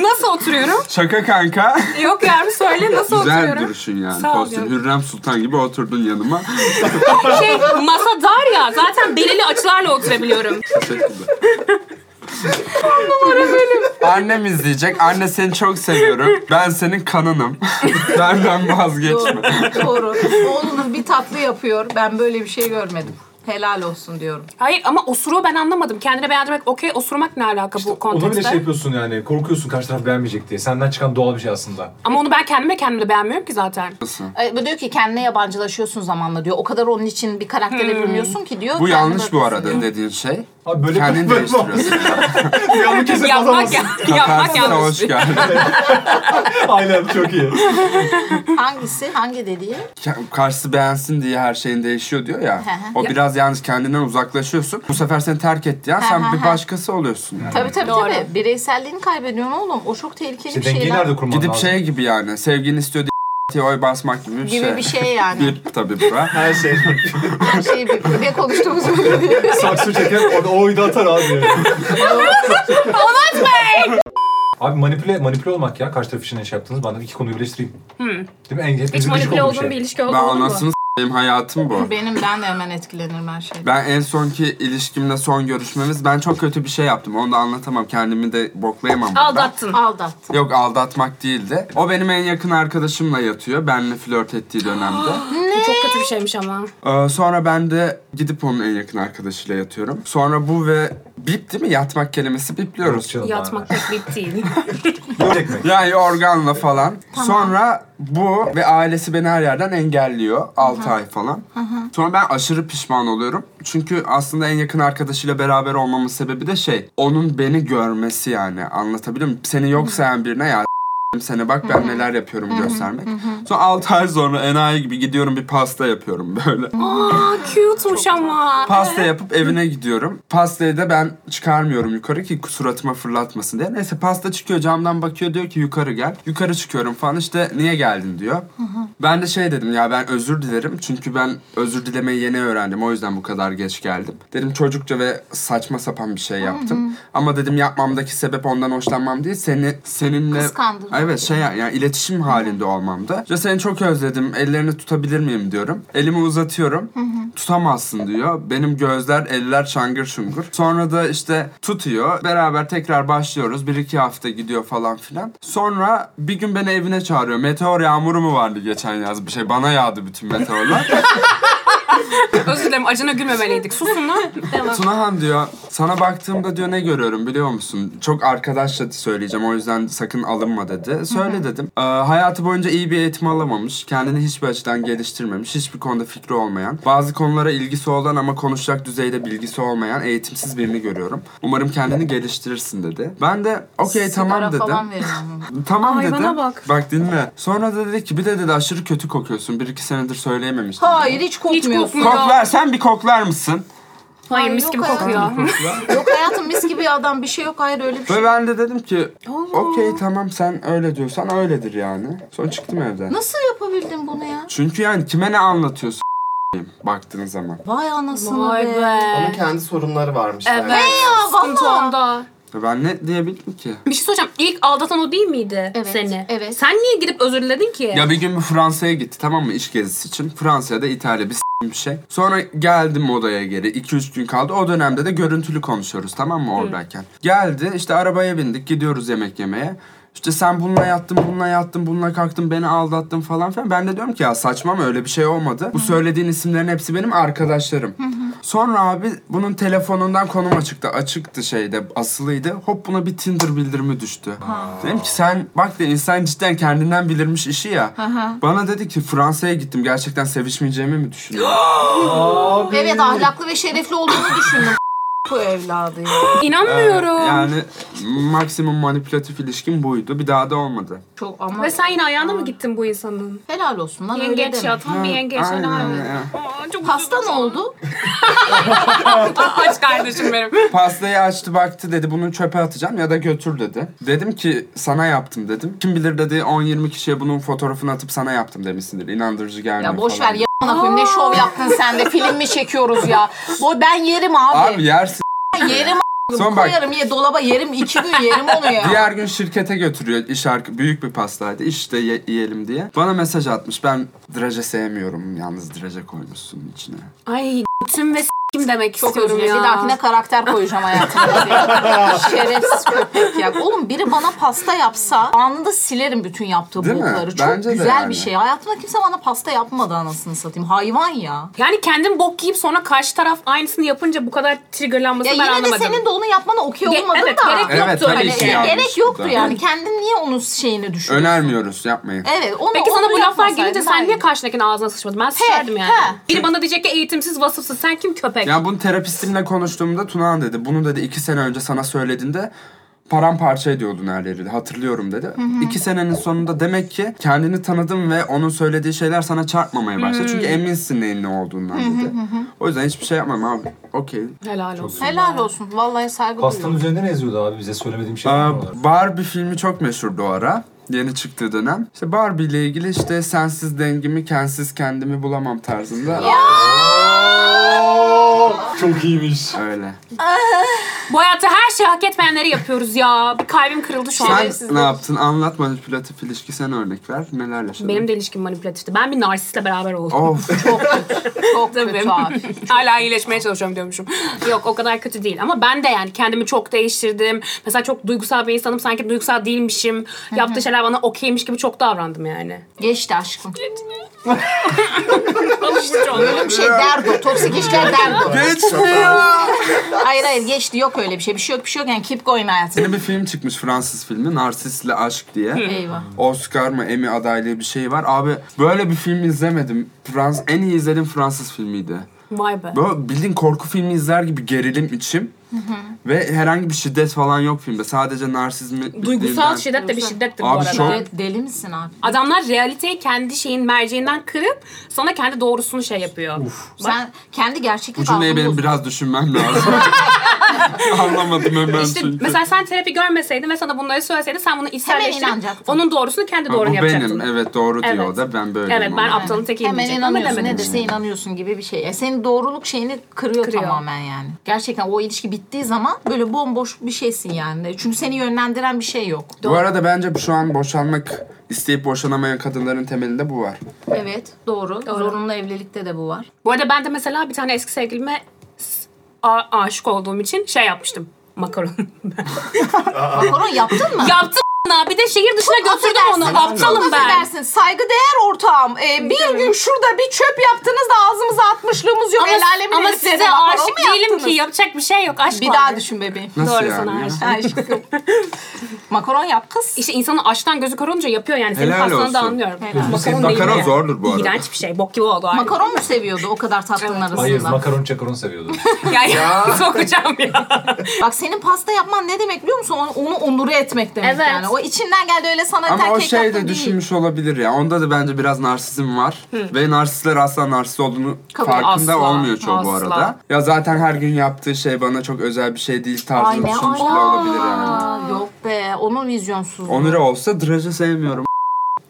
Speaker 3: Nasıl oturuyorum?
Speaker 1: Şaka kanka.
Speaker 3: Yok yani söyle nasıl
Speaker 1: Güzel
Speaker 3: oturuyorum?
Speaker 1: duruşun yani.
Speaker 3: Sağ ol
Speaker 1: Postin
Speaker 3: canım.
Speaker 1: Hürrem Sultan gibi oturdun yanıma.
Speaker 3: Şey masa dar ya zaten belirli açılarla oturabiliyorum.
Speaker 1: Teşekkürler. Annem izleyecek. Anne seni çok seviyorum. Ben senin kanınım. Benden vazgeçme.
Speaker 2: Doğru. doğru. Oğlunuz bir tatlı yapıyor. Ben böyle bir şey görmedim. Helal olsun diyorum.
Speaker 3: Hayır ama osuruğu ben anlamadım. Kendine beğendirmek okey osurmak ne alaka bu
Speaker 4: Ona bile
Speaker 3: kontekste?
Speaker 4: şey yapıyorsun yani, korkuyorsun karşı taraf beğenmeyecek diye. Senden çıkan doğal bir şey aslında.
Speaker 3: Ama onu ben kendime kendimde beğenmiyorum ki zaten.
Speaker 2: E, bu diyor ki kendine
Speaker 3: Hmm.
Speaker 2: yabancılaşıyorsun zamanla diyor. O kadar onun için bir karaktere bürünüyorsun ki diyor.
Speaker 1: Bu
Speaker 2: kendine
Speaker 1: yanlış bu
Speaker 2: bakıyorsun diyor.
Speaker 1: arada dediğin şey.
Speaker 4: Abi böyle
Speaker 1: Kendini
Speaker 4: böyle-
Speaker 1: değiştiriyorsun.
Speaker 4: Yanlı kesip
Speaker 3: Yapmak,
Speaker 4: atamazsın.
Speaker 3: ya, yapmak
Speaker 1: Katarsis'e
Speaker 3: yanlış.
Speaker 1: hoş geldin.
Speaker 4: Aynen çok iyi. Şey,
Speaker 2: Hangisi? Hangi dediği?
Speaker 1: Ke- karşısı beğensin diye her şeyin değişiyor diyor ya.
Speaker 2: Hı hı.
Speaker 1: o biraz yalnız kendinden uzaklaşıyorsun. Bu sefer seni terk etti ya. Sen bir başkası oluyorsun yani.
Speaker 2: Tabii tabii
Speaker 3: Doğru.
Speaker 2: tabii. Bireyselliğini kaybediyorsun oğlum. O çok tehlikeli
Speaker 4: İşte
Speaker 2: bir şey.
Speaker 4: dengeyi
Speaker 2: lan.
Speaker 4: nerede kurman
Speaker 1: Gidip
Speaker 4: lazım?
Speaker 1: şey gibi yani. Sevgilin istiyor diye diye oy basmak gibi bir şey.
Speaker 2: Gibi bir şey yani.
Speaker 1: Bir tabii bu. ha.
Speaker 6: Her şey.
Speaker 2: Her şeyi bir, ne konuştuğumuz belli değil.
Speaker 4: Saksı çeker orada o oyunu atar abi. Onat Abi manipüle, manipüle olmak ya. Karşı taraf için ne şey yaptınız? Ben de iki konuyu birleştireyim. Değil mi? En,
Speaker 3: Hiç
Speaker 4: hepimizin gıcık
Speaker 3: manipüle
Speaker 4: olduğu
Speaker 3: olduğum bir
Speaker 4: şey.
Speaker 3: ilişki
Speaker 1: Ben
Speaker 3: oldu mu?
Speaker 1: anasını s**eyim hayatım bu.
Speaker 2: Benim ben de hemen etkilenirim her şeyden.
Speaker 1: Ben en sonki ilişkimde son görüşmemiz ben çok kötü bir şey yaptım. Onu da anlatamam. Kendimi de boklayamam. burada.
Speaker 3: Aldattın.
Speaker 2: Aldat.
Speaker 1: Yok aldatmak değildi. O benim en yakın arkadaşımla yatıyor. Benle flört ettiği dönemde.
Speaker 3: Çok kötü bir şeymiş ama.
Speaker 1: Ee, sonra ben de gidip onun en yakın arkadaşıyla yatıyorum. Sonra bu ve bip değil mi? Yatmak kelimesi bipliyoruz.
Speaker 4: Yok,
Speaker 3: Yatmak pek bip değil.
Speaker 4: Yok ekmek.
Speaker 1: Yani organla falan. Sonra bu ve ailesi beni her yerden engelliyor. 6 ay falan. Sonra ben aşırı pişman oluyorum. Çünkü aslında en yakın arkadaşıyla beraber olmamın sebebi de şey. Onun beni görmesi yani. Anlatabiliyor muyum? Seni yok sayan birine ya s**tim seni bak ben neler yapıyorum göstermek. Sonra 6 ay sonra enayi gibi gidiyorum bir pasta yapıyorum böyle.
Speaker 3: Aa cute'muş ama.
Speaker 1: Pasta yapıp evine gidiyorum. Pastayı da ben çıkarmıyorum yukarı ki suratıma fırlatmasın diye. Neyse pasta çıkıyor camdan bakıyor diyor ki yukarı gel. Yukarı çıkıyorum falan işte niye geldin diyor. Ben de şey dedim ya ben özür dilerim. Çünkü ben özür dilemeyi yeni öğrendim. O yüzden bu kadar geç geldim. Dedim çocukça ve saçma sapan bir şey yaptım. Ama dedim yapmamdaki sebep ondan hoşlanmam değil. Seni seninle
Speaker 2: Kıskandırmak.
Speaker 1: Evet şey ya- yani iletişim halinde olmamda. İşte seni çok özledim. Ellerini tutabilir miyim diyorum. Elimi uzatıyorum. Tutamazsın diyor. Benim gözler eller çangır çungur. Sonra da işte tutuyor. Beraber tekrar başlıyoruz. Bir iki hafta gidiyor falan filan. Sonra bir gün beni evine çağırıyor. Meteor yağmuru mu vardı geçen yaz bir şey. Bana yağdı bütün meteorlar.
Speaker 3: Özür dilerim acına gülmemeliydik. Susun lan. Devam.
Speaker 1: Tunahan diyor sana baktığımda diyor ne görüyorum biliyor musun? Çok arkadaşça söyleyeceğim o yüzden sakın alınma dedi. Söyle dedim. Ee, hayatı boyunca iyi bir eğitim alamamış. Kendini hiçbir açıdan geliştirmemiş. Hiçbir konuda fikri olmayan. Bazı konulara ilgisi olan ama konuşacak düzeyde bilgisi olmayan eğitimsiz birini görüyorum. Umarım kendini geliştirirsin dedi. Ben de okey tamam
Speaker 2: Sigara
Speaker 1: dedim.
Speaker 2: falan veriyorum.
Speaker 1: Tamam
Speaker 3: Ay,
Speaker 1: dedim.
Speaker 3: bana bak.
Speaker 1: Bak dinle. Sonra da dedi ki bir de dedi aşırı kötü kokuyorsun. Bir iki senedir söyleyememiştim.
Speaker 2: Hayır hiç kokmuyorsun.
Speaker 3: kokmuyor.
Speaker 1: Koklar sen bir koklar mısın?
Speaker 3: Hayır
Speaker 2: Ay,
Speaker 3: mis
Speaker 2: yok
Speaker 3: gibi
Speaker 2: hayatım.
Speaker 3: kokuyor.
Speaker 2: yok hayatım mis gibi adam bir şey yok hayır öyle bir şey.
Speaker 1: Ve ben de dedim ki
Speaker 3: Oo.
Speaker 1: okey tamam sen öyle diyorsan öyledir yani. Sonra çıktım evden.
Speaker 2: Nasıl yapabildin bunu ya?
Speaker 1: Çünkü yani kime ne anlatıyorsun baktığın zaman.
Speaker 2: Vay anasını
Speaker 3: Vay
Speaker 2: be.
Speaker 3: be.
Speaker 6: Onun kendi sorunları varmış.
Speaker 3: Evet.
Speaker 6: bence.
Speaker 3: Sıkıntı
Speaker 2: valla.
Speaker 3: onda.
Speaker 1: Ve Ben ne diyebilirim ki?
Speaker 3: Bir şey soracağım. İlk aldatan o değil miydi
Speaker 2: Evet,
Speaker 3: seni?
Speaker 2: evet.
Speaker 3: Sen niye gidip özür diledin ki?
Speaker 1: Ya bir gün bir Fransa'ya gitti tamam mı iş gezisi için. Fransa'da İtalya bir s**tim bir şey. Sonra geldim odaya geri. 2-3 gün kaldı. O dönemde de görüntülü konuşuyoruz tamam mı oradayken. Geldi işte arabaya bindik gidiyoruz yemek yemeye. İşte sen bununla yattın, bununla yattın, bununla kalktın, beni aldattın falan filan. Ben de diyorum ki ya saçma mı öyle bir şey olmadı. Bu söylediğin isimlerin hepsi benim arkadaşlarım. Sonra abi bunun telefonundan konum açıktı. Açıktı şeyde asılıydı. Hop buna bir Tinder bildirimi düştü. Dedim ki sen bak de insan cidden kendinden bilirmiş işi ya. Bana dedi ki Fransa'ya gittim. Gerçekten sevişmeyeceğimi mi düşünüyorsun? Hmm.
Speaker 2: Evet ahlaklı ve şerefli olduğunu düşündüm. Bu evladı ya.
Speaker 3: İnanmıyorum.
Speaker 1: yani maksimum manipülatif ilişkim buydu. Bir daha da olmadı.
Speaker 2: Çok ama
Speaker 3: Ve sen yine ayağına mı gittin bu insanın?
Speaker 2: helal olsun lan öyle
Speaker 3: Yengeç ya
Speaker 2: deme.
Speaker 3: tam bir yengeç.
Speaker 1: Aynen
Speaker 3: helal olsun.
Speaker 1: ya.
Speaker 3: Aa, çok
Speaker 2: Pasta ne
Speaker 3: üzüldüm.
Speaker 2: oldu?
Speaker 3: Aç kardeşim benim.
Speaker 1: Pastayı açtı baktı dedi bunu çöpe atacağım ya da götür dedi. Dedim ki sana yaptım dedim. Kim bilir dedi 10-20 kişiye bunun fotoğrafını atıp sana yaptım demişsindir. İnandırıcı gelmiyor
Speaker 2: Ya boş
Speaker 1: falan.
Speaker 2: ver ya. koyayım. Ne şov yaptın sen de film mi çekiyoruz ya? Bu ben yerim abi.
Speaker 1: Abi yersin.
Speaker 2: Ben yerim a**ım.
Speaker 1: Son bak.
Speaker 2: koyarım ye dolaba yerim iki gün yerim onu ya.
Speaker 1: Diğer gün şirkete götürüyor iş arka, büyük bir pastaydı. İşte ye- yiyelim diye. Bana mesaj atmış. Ben draje sevmiyorum. Yalnız draje koymuşsun içine.
Speaker 3: Ay tüm ve s**kim demek
Speaker 2: Çok özür
Speaker 3: istiyorum
Speaker 2: dilerim.
Speaker 3: ya.
Speaker 2: Bir dahakine karakter koyacağım hayatımda. Şerefsiz köpek ya. Oğlum biri bana pasta yapsa anında silerim bütün yaptığı
Speaker 1: Değil mi?
Speaker 2: bokları. Çok
Speaker 1: Bence de
Speaker 2: güzel
Speaker 1: yani.
Speaker 2: bir şey. Hayatımda kimse bana pasta yapmadı anasını satayım. Hayvan ya.
Speaker 3: Yani kendin bok yiyip sonra karşı taraf aynısını yapınca bu kadar triggerlanması
Speaker 2: Ya
Speaker 3: ben
Speaker 2: yine
Speaker 3: anlamadım.
Speaker 2: de senin de onu yapmana okey
Speaker 3: Ge-
Speaker 2: olmadın
Speaker 3: evet,
Speaker 2: da.
Speaker 3: gerek
Speaker 1: Evet,
Speaker 3: yoktu
Speaker 1: tabii
Speaker 3: öyle
Speaker 1: ki
Speaker 3: şey.
Speaker 1: ya.
Speaker 2: Gerek yoktu
Speaker 1: da.
Speaker 2: yani. Kendin niye onun şeyini düşünüyorsun?
Speaker 1: Önermiyoruz yapmayın.
Speaker 2: Evet. Onu,
Speaker 3: Peki
Speaker 2: onu
Speaker 3: sana bu laflar
Speaker 2: yapmasaydın
Speaker 3: gelince sen
Speaker 2: hayır.
Speaker 3: niye karşındakinin ağzına sıçmadın? Ben sıçardım yani.
Speaker 2: he.
Speaker 3: Biri bana diyecek ki eğitimsiz, vasıfsız mısın? Sen kim köpek?
Speaker 1: Yani bunu terapistimle konuştuğumda Tunahan dedi. Bunu dedi iki sene önce sana söylediğinde paramparça ediyordun her yeri hatırlıyorum dedi. İki senenin sonunda demek ki kendini tanıdın ve onun söylediği şeyler sana çarpmamaya başladı. Çünkü eminsin neyin ne olduğundan dedi. O yüzden hiçbir şey yapmam abi. Okey.
Speaker 3: Helal olsun.
Speaker 2: Helal olsun. Vallahi saygı
Speaker 4: Pastanın
Speaker 2: duyuyorum.
Speaker 4: üzerinde ne yazıyordu abi bize söylemediğim şey
Speaker 1: Aa,
Speaker 4: mi var?
Speaker 1: Barbie filmi çok meşhurdu o ara. Yeni çıktığı dönem. İşte Barbie ile ilgili işte sensiz dengimi, kensiz kendimi bulamam tarzında.
Speaker 4: Çok iyiymiş.
Speaker 1: Öyle.
Speaker 3: Bu hayatta her şeyi hak etmeyenleri yapıyoruz ya. Bir kalbim kırıldı şu an.
Speaker 1: Sen
Speaker 2: Şerefsizlik.
Speaker 1: ne yaptın? Anlat manipülatif ilişki sen örnek ver. Neler yaşadın?
Speaker 3: Benim de ilişkim manipülatifti. Ben bir narsistle beraber oldum.
Speaker 1: Of.
Speaker 2: Çok kötü abi.
Speaker 3: Hala iyileşmeye çalışıyorum diyormuşum. Yok o kadar kötü değil ama ben de yani kendimi çok değiştirdim. Mesela çok duygusal bir insanım sanki duygusal değilmişim. Yaptığı şeyler bana okeymiş gibi çok davrandım yani.
Speaker 2: Geçti aşkım.
Speaker 3: Alıştır
Speaker 2: Öyle bir şey derdo. Toksik işler derdo.
Speaker 1: Geçmiyor.
Speaker 2: Hayır hayır geçti. Yok öyle bir şey. Bir şey yok bir şey yok. Yani keep going hayatım.
Speaker 1: Yeni bir film çıkmış Fransız filmi. Narsisle Aşk diye.
Speaker 2: Eyvah.
Speaker 1: Oscar mı Emmy adaylığı bir şey var. Abi böyle bir film izlemedim. Frans en iyi izlediğim Fransız filmiydi.
Speaker 3: Vay be.
Speaker 1: Böyle bildiğin korku filmi izler gibi gerilim içim. Ve herhangi bir şiddet falan yok filmde. Sadece narsizmi...
Speaker 3: Duygusal şiddet de bir şiddettir bu
Speaker 1: Abi
Speaker 3: arada.
Speaker 1: çok-
Speaker 2: Evet, deli misin abi?
Speaker 3: Adamlar realiteyi kendi şeyin merceğinden kırıp sana kendi doğrusunu şey yapıyor.
Speaker 2: Sen kendi gerçeklik
Speaker 1: Bu cümleyi
Speaker 2: algını
Speaker 1: benim
Speaker 2: bozdun.
Speaker 1: biraz düşünmem lazım. Anlamadım hemen
Speaker 3: İşte
Speaker 1: çünkü.
Speaker 3: mesela sen terapi görmeseydin ve sana bunları söyleseydi sen bunu içselleştirip
Speaker 2: inanacaktın.
Speaker 3: onun doğrusunu kendi
Speaker 1: Ama
Speaker 3: doğrunu
Speaker 1: bu
Speaker 3: yapacaktın.
Speaker 1: benim. Evet doğru diyor
Speaker 3: Evet.
Speaker 1: o da. Ben böyle
Speaker 3: Evet, ben aptalın tekiyim
Speaker 2: Hemen
Speaker 3: diyecek ama
Speaker 2: inanıyorsun ne
Speaker 3: demedim.
Speaker 2: dese inanıyorsun gibi bir şey. Yani senin doğruluk şeyini kırıyor,
Speaker 3: Kırıyor.
Speaker 2: tamamen yani. Gerçekten o ilişki bittiği zaman böyle bomboş bir şeysin yani. Çünkü seni yönlendiren bir şey yok.
Speaker 1: Bu arada bence şu an boşanmak isteyip boşanamayan kadınların temelinde bu var.
Speaker 2: Evet doğru. Zorunlu evlilikte de bu var.
Speaker 3: Bu arada ben de mesela bir tane eski sevgilime s- a- aşık olduğum için şey yapmıştım. Makaron.
Speaker 2: Makaron yaptın mı?
Speaker 3: Yaptım a**ına, bir de şehir dışına götürdüm onu. Aptalım ben.
Speaker 2: Affedersin saygıdeğer ortağım. Ee, bir gün şurada bir çöp yaptınız da ağzımıza atmışlığımız yok.
Speaker 3: Ama,
Speaker 2: El alemin
Speaker 3: ama
Speaker 2: heriflerine
Speaker 3: size
Speaker 2: makaron
Speaker 3: aşık
Speaker 2: mu
Speaker 3: değilim
Speaker 2: yaptınız?
Speaker 3: ki. Yapacak bir şey yok. Aşk
Speaker 2: Bir
Speaker 3: var.
Speaker 2: daha düşün bebeğim.
Speaker 1: Nasıl
Speaker 3: Doğru sana
Speaker 1: yani?
Speaker 3: aşık.
Speaker 2: Aşkım. Makaron yap kız.
Speaker 3: İşte insanın açtan gözü kör olunca yapıyor yani. Senin
Speaker 1: Helal
Speaker 3: pastanı
Speaker 1: olsun.
Speaker 3: da anlıyorum.
Speaker 2: Helal.
Speaker 3: Makaron değil
Speaker 1: Makaron
Speaker 3: mi?
Speaker 1: zordur bu arada.
Speaker 3: İğrenç bir şey. Bok gibi oldu. harbi.
Speaker 2: Makaron mu seviyordu o kadar tatlının
Speaker 4: Hayır
Speaker 2: arasında?
Speaker 4: makaron çakaron seviyordu.
Speaker 3: Ya, ya. sokacağım ya.
Speaker 2: Bak senin pasta yapman ne demek biliyor musun? Onu, onu onuru etmek demek
Speaker 3: Evet.
Speaker 2: yani. O içinden geldi öyle sana
Speaker 1: Ama
Speaker 2: terk
Speaker 1: o
Speaker 2: et
Speaker 1: şey
Speaker 2: yaptın
Speaker 1: de
Speaker 2: değil.
Speaker 1: düşünmüş olabilir ya. Onda da bence biraz narsizm var. Ve narsistler asla narsist olduğunu
Speaker 2: Kabul-
Speaker 1: farkında
Speaker 3: asla,
Speaker 1: olmuyor çoğu bu
Speaker 3: asla.
Speaker 1: arada. Ya zaten her gün yaptığı şey bana çok özel bir şey değil tarzını
Speaker 2: Ay ne
Speaker 1: düşünmüş bile
Speaker 2: ala.
Speaker 1: olabilir yani.
Speaker 2: Aa, Yok be onun vizyonsuzluğu.
Speaker 1: Onur olsa Draj'ı sevmiyorum.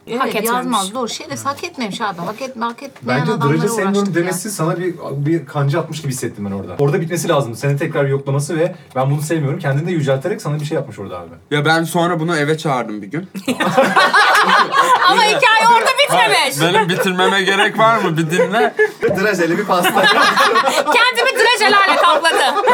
Speaker 2: evet,
Speaker 3: Hak etmemiş.
Speaker 2: Yazmaz doğru şeref hak etmemiş abi. Hak etme hak etmeyen
Speaker 4: Bence
Speaker 2: adamlara
Speaker 4: Draja
Speaker 2: uğraştık
Speaker 4: Senyor'un
Speaker 2: ya.
Speaker 4: demesi sana bir bir kanca atmış gibi hissettim ben orada. Orada bitmesi lazım. Seni tekrar bir yoklaması ve ben bunu sevmiyorum. Kendini de yücelterek sana bir şey yapmış orada abi.
Speaker 1: Ya ben sonra bunu eve çağırdım bir gün.
Speaker 3: Ama hikaye orada bitmemiş.
Speaker 1: Benim bitirmeme gerek var mı? Bir dinle.
Speaker 6: Drajeli bir pasta.
Speaker 3: Kendimi drejelerle kapladı.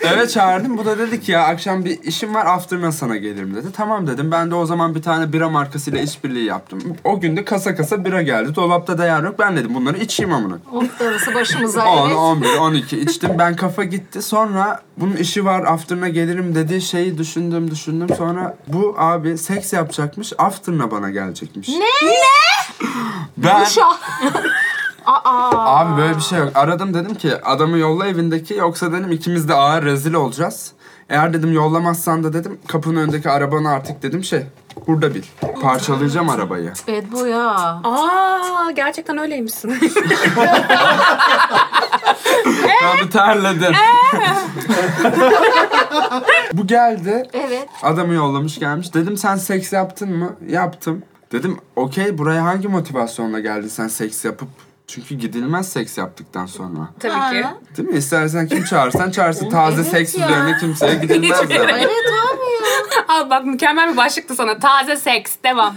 Speaker 1: Eve çağırdım. Bu da dedi ki ya akşam bir işim var after'ına sana gelirim dedi. Tamam dedim. Ben de o zaman bir tane bira markasıyla işbirliği yaptım. O gün de kasa kasa bira geldi. Dolapta da yer yok. Ben dedim bunları içeyim amına.
Speaker 2: Of darısı başımıza
Speaker 1: 10,
Speaker 2: evet.
Speaker 1: 11, 12 içtim. Ben kafa gitti. Sonra bunun işi var after'ına gelirim dedi. Şeyi düşündüm düşündüm. Sonra bu abi seks yapacakmış. After'ına bana gelecekmiş. Ne? Ben,
Speaker 2: Uşa. Aa.
Speaker 1: abi böyle bir şey yok. Aradım dedim ki adamı yolla evindeki yoksa dedim ikimiz de ağır rezil olacağız. Eğer dedim yollamazsan da dedim kapının önündeki arabanı artık dedim şey burada bil. Parçalayacağım arabayı.
Speaker 2: Evet bu ya.
Speaker 3: Aa gerçekten öyleymişsin.
Speaker 1: Ben bir terledim. bu geldi.
Speaker 2: Evet.
Speaker 1: Adamı yollamış gelmiş. Dedim sen seks yaptın mı? Yaptım. Dedim okey buraya hangi motivasyonla geldin sen seks yapıp? Çünkü gidilmez seks yaptıktan sonra.
Speaker 3: Tabii ki.
Speaker 1: Değil mi? İstersen kim çağırsan çağırsın. Taze
Speaker 2: evet
Speaker 1: seks
Speaker 2: ya.
Speaker 1: üzerine kimseye gidilmez.
Speaker 3: Hiçbir
Speaker 1: yani.
Speaker 2: Evet abi ya.
Speaker 3: Al bak mükemmel bir başlıktı sana. Taze seks. Devam.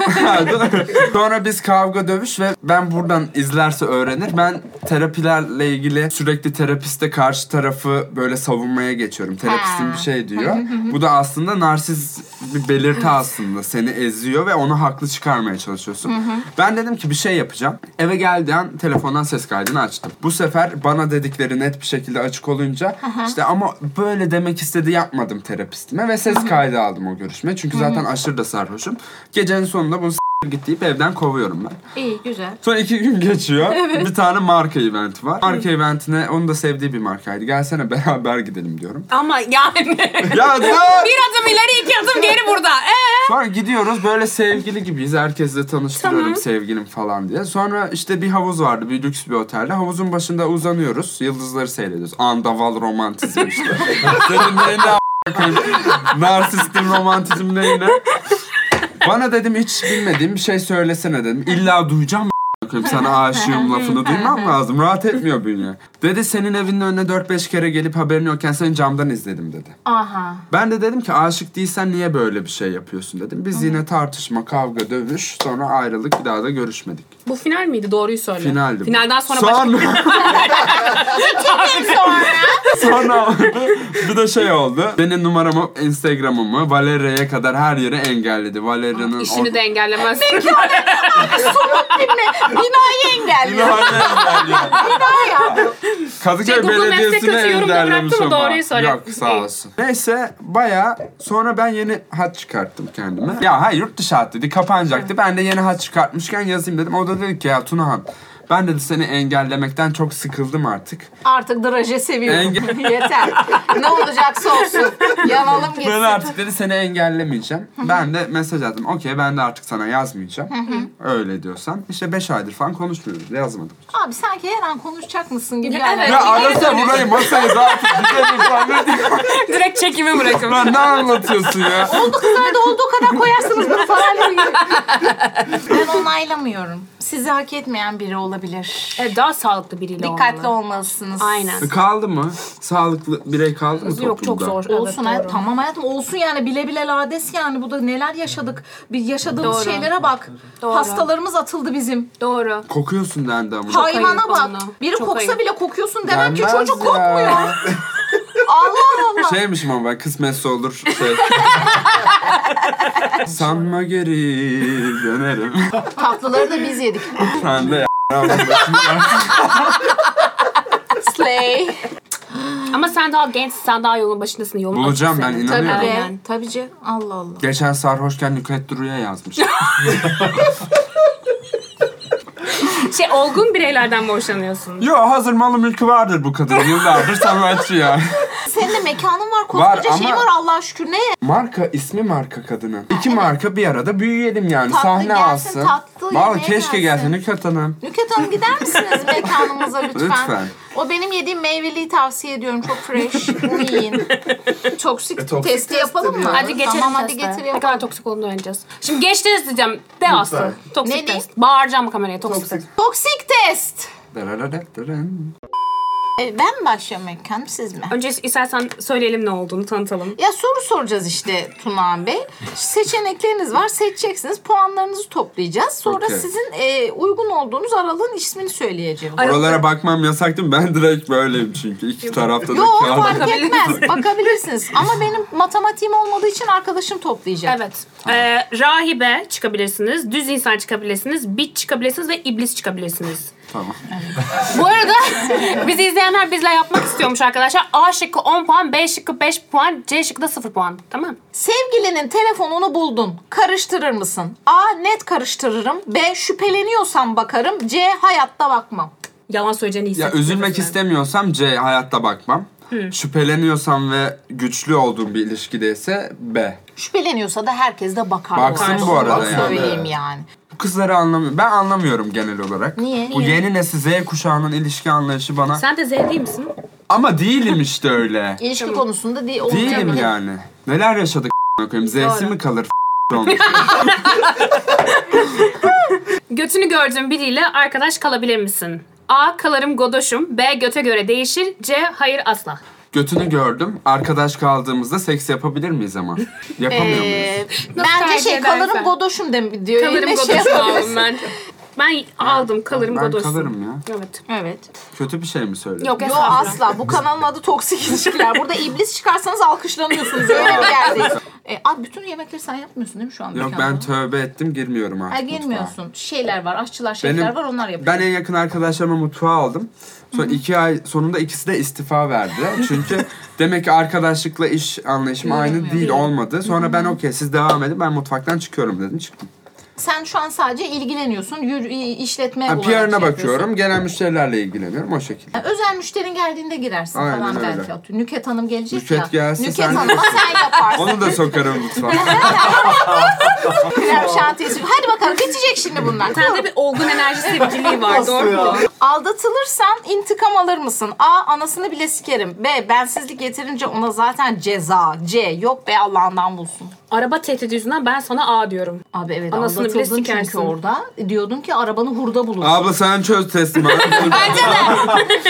Speaker 1: Sonra biz kavga dövüş ve ben buradan izlerse öğrenir. Ben terapilerle ilgili sürekli terapiste karşı tarafı böyle savunmaya geçiyorum. Terapistin
Speaker 2: Ha.
Speaker 1: bir şey diyor. Bu da aslında narsiz bir belirti aslında. Seni eziyor ve onu haklı çıkarmaya çalışıyorsun. Ben dedim ki bir şey yapacağım. Eve geldiği an telefondan ses kaydını açtım. Bu sefer bana dedikleri net bir şekilde açık olunca işte ama böyle demek istedi yapmadım terapistime ve ses kaydı aldım o görüşme. Çünkü zaten aşırı da sarhoşum. Gecenin sonunda bunu git deyip evden kovuyorum ben.
Speaker 2: İyi güzel.
Speaker 1: Sonra iki gün geçiyor. Bir tane marka eventi var. Marka eventine onu da sevdiği bir markaydı. Gelsene beraber gidelim diyorum.
Speaker 3: Ama yani
Speaker 1: ya dur!
Speaker 3: bir adım ileri iki adım geri burada. Ee?
Speaker 1: Sonra gidiyoruz böyle sevgili gibiyiz. Herkesle tanıştırıyorum
Speaker 3: Tamam.
Speaker 1: sevgilim falan diye. Sonra işte bir havuz vardı bir lüks bir otelde. Havuzun başında uzanıyoruz. Yıldızları seyrediyoruz. Andaval romantizm işte. Senin neyine a**a koyayım? Narsistin romantizm neyine? Bana dedim hiç bilmediğim bir şey söylesene dedim. İlla duyacağım a**a koyayım. sana aşığım lafını duymam lazım. Rahat etmiyor bünye. Dedi senin evinin önüne 4-5 kere gelip haberin yokken seni camdan izledim dedi.
Speaker 2: Aha.
Speaker 1: Ben de dedim ki aşık değilsen niye böyle bir şey yapıyorsun dedim. Biz yine tartışma, kavga, dövüş sonra ayrılık bir daha da görüşmedik.
Speaker 3: Bu final miydi? Doğruyu söyle.
Speaker 1: Finaldi bu.
Speaker 3: Finalden sonra başka
Speaker 1: Sonra... sonra bir de şey oldu. Benim numaramı, Instagram'ımı Valeria'ya kadar her yere engelledi. Valeria'nın
Speaker 3: işini de engellemez.
Speaker 2: Binayı engelliyor.
Speaker 1: Kadıköy
Speaker 3: Şey, Google Maps'te
Speaker 1: Belediyesi'ne
Speaker 3: kötü yorumda
Speaker 1: engellemiş
Speaker 3: bıraktı mı?
Speaker 1: ama.
Speaker 3: Doğruyu söyle.
Speaker 1: Yok sağ
Speaker 3: İyi.
Speaker 1: olsun. Neyse baya sonra ben yeni hat çıkarttım kendime. Ya hayır yurt dışı hat dedi kapanacaktı. Ben de yeni hat çıkartmışken yazayım dedim. O da dedi ki ya Tunahan ben dedi seni engellemekten çok sıkıldım artık.
Speaker 2: Artık draje seviyorum.
Speaker 1: Engel-
Speaker 2: Yeter. Ne olacaksa olsun. Yanalım gitsin.
Speaker 1: Ben artık dedi seni engellemeyeceğim. ben de mesaj attım. Okey ben de artık sana yazmayacağım. Öyle diyorsan. İşte 5 aydır falan konuşmuyoruz. Yazmadım.
Speaker 2: Abi sanki her an konuşacak mısın gibi.
Speaker 3: Evet.
Speaker 2: Yani.
Speaker 1: Ya arasa burayı masaya zaten gidelim falan. Ne diyeyim?
Speaker 3: Direkt çekimi bırakın.
Speaker 1: Lan ne anlatıyorsun ya?
Speaker 2: Oldu kızlar da olduğu kadar koyarsınız bunu falan. ben onaylamıyorum. Sizi hak etmeyen biri olabilir.
Speaker 3: E, daha sağlıklı biriyle
Speaker 2: Dikkatli
Speaker 3: olmalı.
Speaker 2: olmalısınız.
Speaker 3: Aynen.
Speaker 1: E, Kaldı mı? Sağlıklı birey kaldı mı toplumda?
Speaker 3: Yok çok zor.
Speaker 2: Olsun
Speaker 3: Evet,
Speaker 2: hayat,
Speaker 3: doğru.
Speaker 2: tamam hayatım olsun yani bile bile lades yani bu da neler yaşadık bir yaşadığımız
Speaker 3: Doğru.
Speaker 2: şeylere bak
Speaker 3: Doğru.
Speaker 2: hastalarımız atıldı bizim
Speaker 3: Doğru.
Speaker 1: Kokuyorsun dendi ama.
Speaker 2: hayvana
Speaker 3: ayıp
Speaker 2: bak
Speaker 3: vallahi.
Speaker 2: biri
Speaker 3: Çok
Speaker 2: koksa
Speaker 3: ayıp.
Speaker 2: bile kokuyorsun demem ki
Speaker 1: Denmez
Speaker 2: çocuk
Speaker 1: ya.
Speaker 2: kokmuyor Allah Allah
Speaker 1: Şeymişim ama ben kısmetse olur. Şey. Sanma geri dönerim.
Speaker 2: tatlıları da biz yedik
Speaker 1: Sen de
Speaker 2: slay
Speaker 3: Ama sen daha gençsin, sen daha yolun başındasın. Yolun
Speaker 1: Bulacağım ben,
Speaker 3: açısın.
Speaker 2: tabii
Speaker 1: inanıyorum.
Speaker 2: ki
Speaker 3: Aynen.
Speaker 2: tabii ki Allah Allah
Speaker 1: Geçen sarhoşken Nükhet Duru'ya yazmış.
Speaker 3: Şey, olgun bireylerden mi hoşlanıyorsun?
Speaker 1: Yo hazır malı mülkü vardır bu kadın. Yıllardır sanatçı ya.
Speaker 2: senin de mekanın var
Speaker 1: Var
Speaker 2: koskoca şeyin
Speaker 1: ama-
Speaker 2: var Allah'a şükür ne
Speaker 1: Marka ismi marka kadını. İki marka bir arada büyüyelim yani.
Speaker 2: Tatlı
Speaker 1: Sahne
Speaker 2: gelsin,
Speaker 1: alsın.
Speaker 2: tatlı
Speaker 1: Vallahi
Speaker 2: yemeğe
Speaker 1: keşke
Speaker 2: gelsin.
Speaker 1: gelsin Nükhet Hanım.
Speaker 2: Nükhet Hanım gider misiniz mekanımıza lütfen?
Speaker 1: Lütfen.
Speaker 2: O benim yediğim meyveliyi tavsiye ediyorum. Çok fresh. Bunu yiyin. Toksik,
Speaker 6: E, toksik
Speaker 2: testi yapalım mı?
Speaker 6: testi
Speaker 3: Hadi geçelim
Speaker 2: Tamam hadi
Speaker 3: teste.
Speaker 2: getir
Speaker 3: Ne
Speaker 2: yapalım.
Speaker 3: kadar toksik olduğunu öğreneceğiz. Şimdi geçtiniz diyeceğim. De Aslı. Toksik
Speaker 2: Ne
Speaker 3: test. Bağıracağım kameraya toksik.
Speaker 6: Toksik.
Speaker 2: Toksik test.
Speaker 1: Dararararın.
Speaker 2: E, ben mi başlıyorum Ekkan siz mi?
Speaker 3: Önce istersen söyleyelim ne olduğunu tanıtalım.
Speaker 2: Ya soru soracağız işte Tunağan Bey. Seçenekleriniz var seçeceksiniz. Puanlarınızı toplayacağız. Sonra
Speaker 1: Okey.
Speaker 2: sizin e, uygun olduğunuz aralığın ismini söyleyeceğim.
Speaker 1: Oralara bakmam yasak değil mi? Ben direkt böyleyim çünkü. iki tarafta da
Speaker 2: Yok
Speaker 1: kağıt.
Speaker 2: fark etmez. Bakabilirsiniz. Ama benim matematiğim olmadığı için arkadaşım toplayacak.
Speaker 3: Evet. Ee, rahibe çıkabilirsiniz, düz insan çıkabilirsiniz, bit çıkabilirsiniz ve iblis çıkabilirsiniz.
Speaker 1: Tamam.
Speaker 3: Bu arada bizi izleyenler bizle yapmak istiyormuş arkadaşlar. A şıkkı 10 puan, B şıkkı 5 puan, C şıkkı da 0 puan. Tamam.
Speaker 2: Sevgilinin telefonunu buldun. Karıştırır mısın? A. Net karıştırırım. B. Şüpheleniyorsam bakarım. C. Hayatta bakmam.
Speaker 3: Yalan söyleyeceğini
Speaker 1: Ya
Speaker 3: hissettim.
Speaker 1: üzülmek istemiyorsam C hayatta bakmam. Şüpheleniyorsam ve güçlü olduğum bir ilişkideyse B.
Speaker 2: Şüpheleniyorsa da herkes de bakar.
Speaker 1: Baksın
Speaker 2: arada.
Speaker 1: bu arada
Speaker 2: Onu
Speaker 1: yani.
Speaker 2: Söyleyeyim yani.
Speaker 1: Bu kızları anlamıyorum. Ben anlamıyorum genel olarak.
Speaker 2: Niye?
Speaker 1: Bu yeni nesil Z kuşağının ilişki anlayışı bana.
Speaker 3: Sen de Z değil misin?
Speaker 1: Ama değilim işte öyle.
Speaker 2: İlişki konusunda değil.
Speaker 1: değilim yani. Neler yaşadık a**ına koyayım. Z'si
Speaker 3: Doğru.
Speaker 1: mi kalır a**ına olmuş?
Speaker 3: Götünü gördüğün biriyle arkadaş kalabilir misin? A. Kalarım godoşum. B. Göte göre değişir. C. Hayır asla.
Speaker 1: Götünü gördüm. Arkadaş kaldığımızda seks yapabilir miyiz ama? Yapamıyor
Speaker 2: Ee,
Speaker 1: muyuz?
Speaker 2: Bence
Speaker 3: tercih
Speaker 2: şey
Speaker 3: edersen.
Speaker 2: kalırım godoşum de diyor.
Speaker 3: Kalarım
Speaker 2: Yine şey
Speaker 3: godoşum
Speaker 2: yapıyor.
Speaker 3: aldım ben. Ben aldım kalarım
Speaker 1: ben
Speaker 3: godoşum.
Speaker 1: kalırım ya.
Speaker 3: Evet.
Speaker 2: Evet.
Speaker 1: Kötü bir şey mi söyledim?
Speaker 3: Yok,
Speaker 2: Yo
Speaker 3: estağfurullah.
Speaker 2: asla. Bu kanalın adı toksik ilişkiler. Burada iblis çıkarsanız alkışlanıyorsunuz. Öyle bir yerdeyiz. E, abi bütün yemekleri sen yapmıyorsun değil mi şu an?
Speaker 1: Yok
Speaker 2: mekanda?
Speaker 1: ben tövbe ettim girmiyorum artık
Speaker 2: şey Ha,
Speaker 1: mutfağa.
Speaker 2: girmiyorsun. Şeyler var, aşçılar, şefler var onlar yapıyor.
Speaker 1: Ben en yakın arkadaşlarıma mutfağa aldım. Sonra iki ay sonunda ikisi de istifa verdi. Çünkü demek ki arkadaşlıkla iş anlayışım aynı değil olmadı. Sonra ben okey siz devam edin ben mutfaktan çıkıyorum dedim çıktım.
Speaker 2: Sen şu an sadece ilgileniyorsun. Yürü, işletme
Speaker 1: Yani
Speaker 2: olarak
Speaker 1: PR'ına
Speaker 2: şey
Speaker 1: bakıyorum.
Speaker 2: yapıyorsun.
Speaker 1: Gelen müşterilerle ilgileniyorum o şekilde.
Speaker 2: Yani özel müşterin geldiğinde girersin
Speaker 1: Aynen
Speaker 2: falan
Speaker 1: öyle.
Speaker 2: belki. atıyorum. Nükhet Hanım gelecek
Speaker 1: Nükhet
Speaker 2: ya.
Speaker 1: gelse
Speaker 2: Nükhet
Speaker 1: sen-
Speaker 2: Hanım'a sen yaparsın.
Speaker 1: Onu da sokarım mutfağa.
Speaker 2: Krem şantiyesi. Hadi bakalım bitecek şimdi bunlar.
Speaker 3: Sende bir olgun enerji sevgiliği var doğru mu?
Speaker 2: Aldatılırsan intikam alır mısın? A. Anasını bile sikerim. B. Bensizlik getirince ona zaten ceza. C. Yok be Allah'ından bulsun.
Speaker 3: Araba tehdidi yüzünden ben sana A diyorum.
Speaker 2: Abi evet
Speaker 3: Anasını bile
Speaker 2: aldatıldın çünkü
Speaker 3: sikersin.
Speaker 2: orada. Diyordun ki arabanı hurda bulursun.
Speaker 1: Abla sen çöz testimi.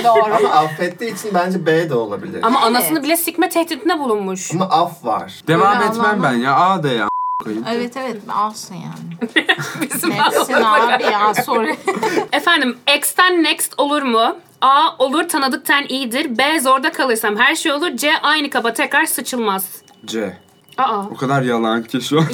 Speaker 2: Doğru.
Speaker 6: Ama affettiği için bence B de olabilir. Ama,
Speaker 3: Ama anasını bile sikme tehdidinde bulunmuş.
Speaker 6: af var.
Speaker 1: Devam
Speaker 2: Öyle
Speaker 1: etmem ben ya. A de ya. koyayım.
Speaker 2: Evet evet alsın yani.
Speaker 3: Bizim
Speaker 2: Hepsini abi ya sorry.
Speaker 3: Efendim X'ten next olur mu? A. Olur tanıdıktan iyidir. B. Zorda kalırsam her şey olur. C. Aynı kaba tekrar sıçılmaz.
Speaker 1: C.
Speaker 3: Aa.
Speaker 1: O kadar yalan ki şu an.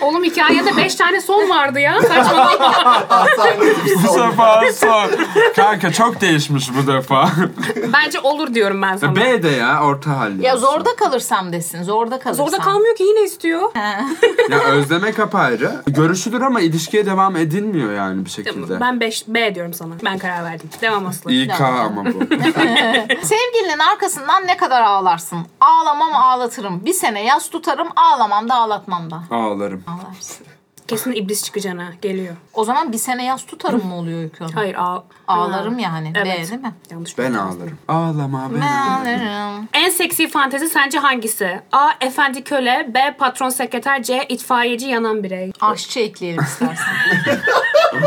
Speaker 3: Oğlum hikayede 5 tane son vardı ya. Saçmalama.
Speaker 1: bu sefer son. Kanka çok değişmiş bu defa.
Speaker 3: Bence olur diyorum ben sana.
Speaker 1: B de ya orta hal.
Speaker 2: ya
Speaker 1: yapsın.
Speaker 2: zorda kalırsam desin. Zorda kalırsam.
Speaker 3: Zorda kalmıyor ki yine istiyor.
Speaker 1: Ya özlemek apayrı. Görüşülür ama ilişkiye devam edilmiyor yani bir şekilde.
Speaker 3: Ben 5 B diyorum sana. Ben karar verdim. Devam Aslı.
Speaker 1: İK ama bu.
Speaker 2: Sevgilinin arkasından ne kadar ağlarsın? Ağlamam ağlatırım. Bir sene yas tutarım ağlamam da ağlatmam da.
Speaker 1: Ağlarım.
Speaker 2: Ağlarsın.
Speaker 3: Kesin iblis çıkacağına geliyor.
Speaker 2: O zaman bir sene yas tutarım mı oluyor Öykü Hanım?
Speaker 3: Hayır ağ
Speaker 2: Ağlarım
Speaker 3: Ha.
Speaker 2: yani.
Speaker 3: Evet.
Speaker 2: B değil mi?
Speaker 3: Yanlış.
Speaker 1: Ben ağlarım. Ağlama ben
Speaker 2: Ben
Speaker 1: ağlarım.
Speaker 2: ağlarım.
Speaker 3: En seksi fantezi sence hangisi? A. Efendi köle. B. Patron sekreter. C. itfaiyeci yanan birey.
Speaker 2: Aşçı ekleyelim istersen.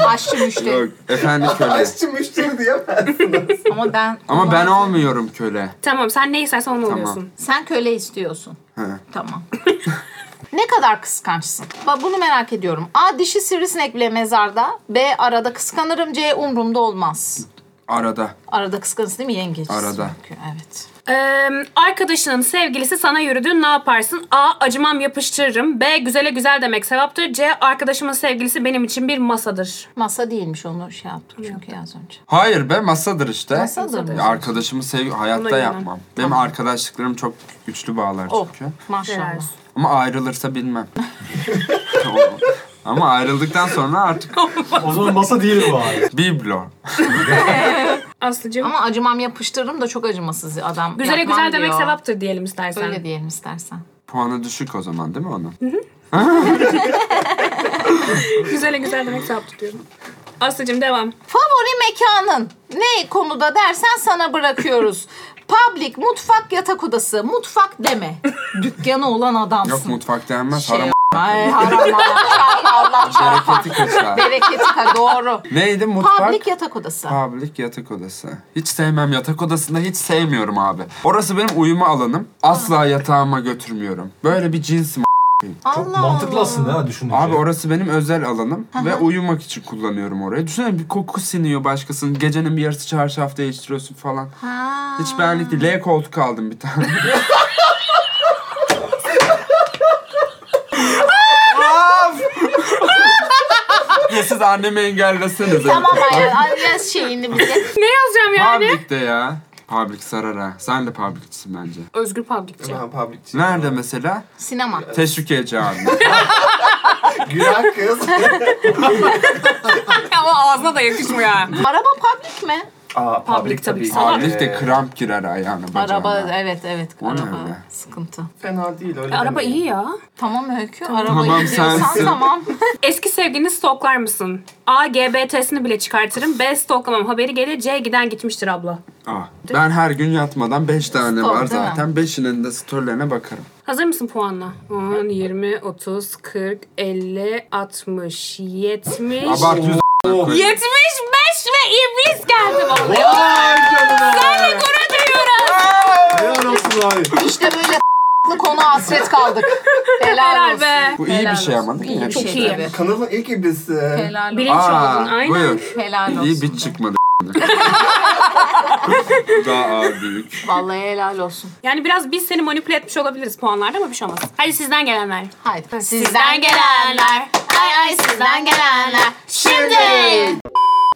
Speaker 2: Aşçı müşteri.
Speaker 1: Yok efendi köle.
Speaker 6: Aşçı müşteri diyemez.
Speaker 2: Ama ben...
Speaker 1: Ama ben olmuyorum köle.
Speaker 3: Tamam sen ne istersen onu oluyorsun.
Speaker 2: Sen köle istiyorsun.
Speaker 1: He.
Speaker 2: Tamam. ne kadar kıskançsın? Bak bunu merak ediyorum. A. Dişi sivrisinek bile mezarda. B. Arada kıskanırım. C. Umrumda olmaz.
Speaker 1: Arada.
Speaker 2: Arada kıskanırsın değil mi yengeç?
Speaker 1: Arada.
Speaker 2: Çünkü, Evet.
Speaker 3: Ee, arkadaşının sevgilisi sana yürüdü ne yaparsın? A. Acımam yapıştırırım. B. Güzele güzel demek sevaptır. C. Arkadaşımın sevgilisi benim için bir masadır.
Speaker 2: Masa değilmiş onu şey yaptım çünkü az önce.
Speaker 1: Hayır be masadır işte.
Speaker 2: Masadır.
Speaker 1: Ya Arkadaşımı sev hayatta
Speaker 3: Ona göre.
Speaker 1: yapmam. Benim arkadaşlıklarım çok güçlü bağlar
Speaker 2: Oh
Speaker 1: çünkü.
Speaker 2: maşallah.
Speaker 3: Helal.
Speaker 1: Ama ayrılırsa bilmem. O- Ama ayrıldıktan sonra artık
Speaker 4: O zaman masa değil bu abi.
Speaker 1: biblo.
Speaker 3: Aslıcığım.
Speaker 2: Ama acımam yapıştırırım da çok acımasız adam.
Speaker 3: Güzele
Speaker 2: Yapmam
Speaker 3: güzel demek
Speaker 2: diyor.
Speaker 3: sevaptır diyelim istersen.
Speaker 2: Öyle diyelim istersen.
Speaker 1: Puanı düşük o zaman değil mi onun?
Speaker 3: Güzele güzel demek sevaptır diyorum. Aslıcığım devam.
Speaker 2: Favori mekanın ne konuda dersen sana bırakıyoruz. Public, mutfak, yatak odası. Mutfak deme. Dükkanı olan adamsın.
Speaker 1: Yok mutfak denmez.
Speaker 2: Şey
Speaker 1: haram
Speaker 2: Ay haram Allah çarpma, Allah çarpar.
Speaker 1: hareketi kaçar.
Speaker 2: Bereketi ka doğru.
Speaker 1: Neydi mutfak?
Speaker 2: Public yatak odası.
Speaker 1: Public yatak odası. Hiç sevmem yatak odasında hiç sevmiyorum abi. Orası benim uyuma alanım. Asla yatağıma götürmüyorum. Böyle bir cinsim.
Speaker 2: Allah
Speaker 4: Çok mantıklı
Speaker 2: Allah.
Speaker 4: aslında ha düşününce.
Speaker 2: Şey-
Speaker 1: Abi orası benim özel alanım ve uyumak için kullanıyorum orayı. Düşünsene bir koku siniyor başkasının. Gecenin bir yarısı çarşaf değiştiriyorsun falan.
Speaker 2: Ha.
Speaker 1: Hiç benlik değil. L koltuk aldım bir tane. Of! ya siz annemi engellesenize.
Speaker 2: Tamam aynen. Ay, yaz şeyini bize.
Speaker 3: Ne yazacağım yani?
Speaker 1: Public'te ya. Public sarar ha. Sen de public'sin bence.
Speaker 3: Özgür Publikçi.
Speaker 6: Ben publikçi.
Speaker 1: Nerede mesela?
Speaker 2: Sinema.
Speaker 1: Teşvik cami.
Speaker 6: Gülen kız.
Speaker 3: Ama ağzına da yakışmıyor ha.
Speaker 2: Araba public mi?
Speaker 6: Aa,
Speaker 3: Public tabii ki.
Speaker 6: Aa,
Speaker 1: Public de
Speaker 6: ee,
Speaker 1: kramp girer ayağına bacağına.
Speaker 2: Araba evet evet.
Speaker 1: O ne
Speaker 2: araba
Speaker 1: öyle?
Speaker 2: sıkıntı.
Speaker 6: Fena değil öyle
Speaker 3: Araba
Speaker 6: demeyin.
Speaker 3: iyi ya.
Speaker 2: Tamam Öykü. Araba
Speaker 1: Tamam,
Speaker 2: gidiyorsan
Speaker 1: sensin.
Speaker 2: tamam.
Speaker 3: Eski sevgilini stalklar mısın? A. GBT'sini bile çıkartırım. B. Stalklamam haberi gelir. C. Giden gitmiştir abla.
Speaker 1: Ah, ben her gün yatmadan 5 tane
Speaker 2: Stop,
Speaker 1: var
Speaker 2: değil mi?
Speaker 1: zaten. 5'inin de storylerine bakarım.
Speaker 3: Hazır mısın puanla? 10, 20, 30, 40, 50, 60, 70...
Speaker 1: Abartı yüz
Speaker 3: 75 ve iblis geldi vallahi.
Speaker 4: Vay canına.
Speaker 3: Gurur duyuyorum.
Speaker 4: Helal olsun abi.
Speaker 2: İşte böyle konu hasret kaldık. Helal,
Speaker 3: Helal
Speaker 2: olsun.
Speaker 3: be.
Speaker 1: Bu iyi
Speaker 2: Helal
Speaker 1: bir şey
Speaker 2: olsun.
Speaker 1: ama değil mi?
Speaker 2: İyi bir
Speaker 1: Çok
Speaker 2: şey
Speaker 3: iyi.
Speaker 2: tabii.
Speaker 6: Kanalın ilk iblisi.
Speaker 2: Helal olsun.
Speaker 3: Bilinç
Speaker 1: Aa,
Speaker 3: oldun aynen.
Speaker 1: buyur.
Speaker 2: Helal olsun.
Speaker 1: İyi bit çıkmadı. Daha ağır büyük.
Speaker 2: Vallahi helal olsun.
Speaker 3: Yani biraz biz seni manipüle etmiş olabiliriz puanlarda ama bir şey olmaz. Hadi sizden gelenler.
Speaker 2: Haydi. Sizden gelenler. Ay ay sizden gelenler. Şimdi.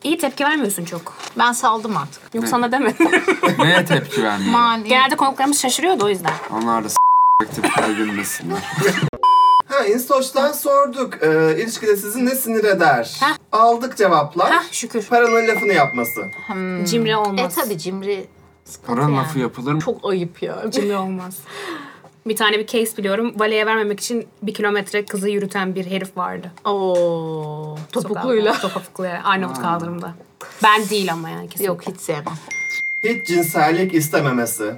Speaker 3: İyi tepki vermiyorsun çok.
Speaker 2: Ben saldım artık.
Speaker 3: Yok sana demedim.
Speaker 1: Neye tepki vermiyor?
Speaker 2: Mani.
Speaker 3: Genelde konuklarımız şaşırıyordu o yüzden.
Speaker 1: Onlar da s**k tepkiler gülmesinler.
Speaker 6: Ha Ha Instoç'tan sorduk. Ee, ilişkide sizi ne sinir eder? Aldık cevaplar.
Speaker 3: Hah Ah, şükür.
Speaker 6: Paranın lafını yapması.
Speaker 3: Cimri olmaz.
Speaker 2: Ah, E tabi cimri sıkıntı
Speaker 1: Paranın
Speaker 2: yani.
Speaker 1: lafı yapılır mı?
Speaker 2: Çok ayıp ya.
Speaker 3: Cimri olmaz. Bir tane bir case biliyorum. Valeye vermemek için bir kilometre kızı yürüten bir herif vardı.
Speaker 2: Oo, topukluyla.
Speaker 3: Topukluyla. Topukluyla. Arnavut kaldırımda. Ben değil ama yani kesin.
Speaker 2: Yok hiç sevmem.
Speaker 6: Hiç cinsellik istememesi.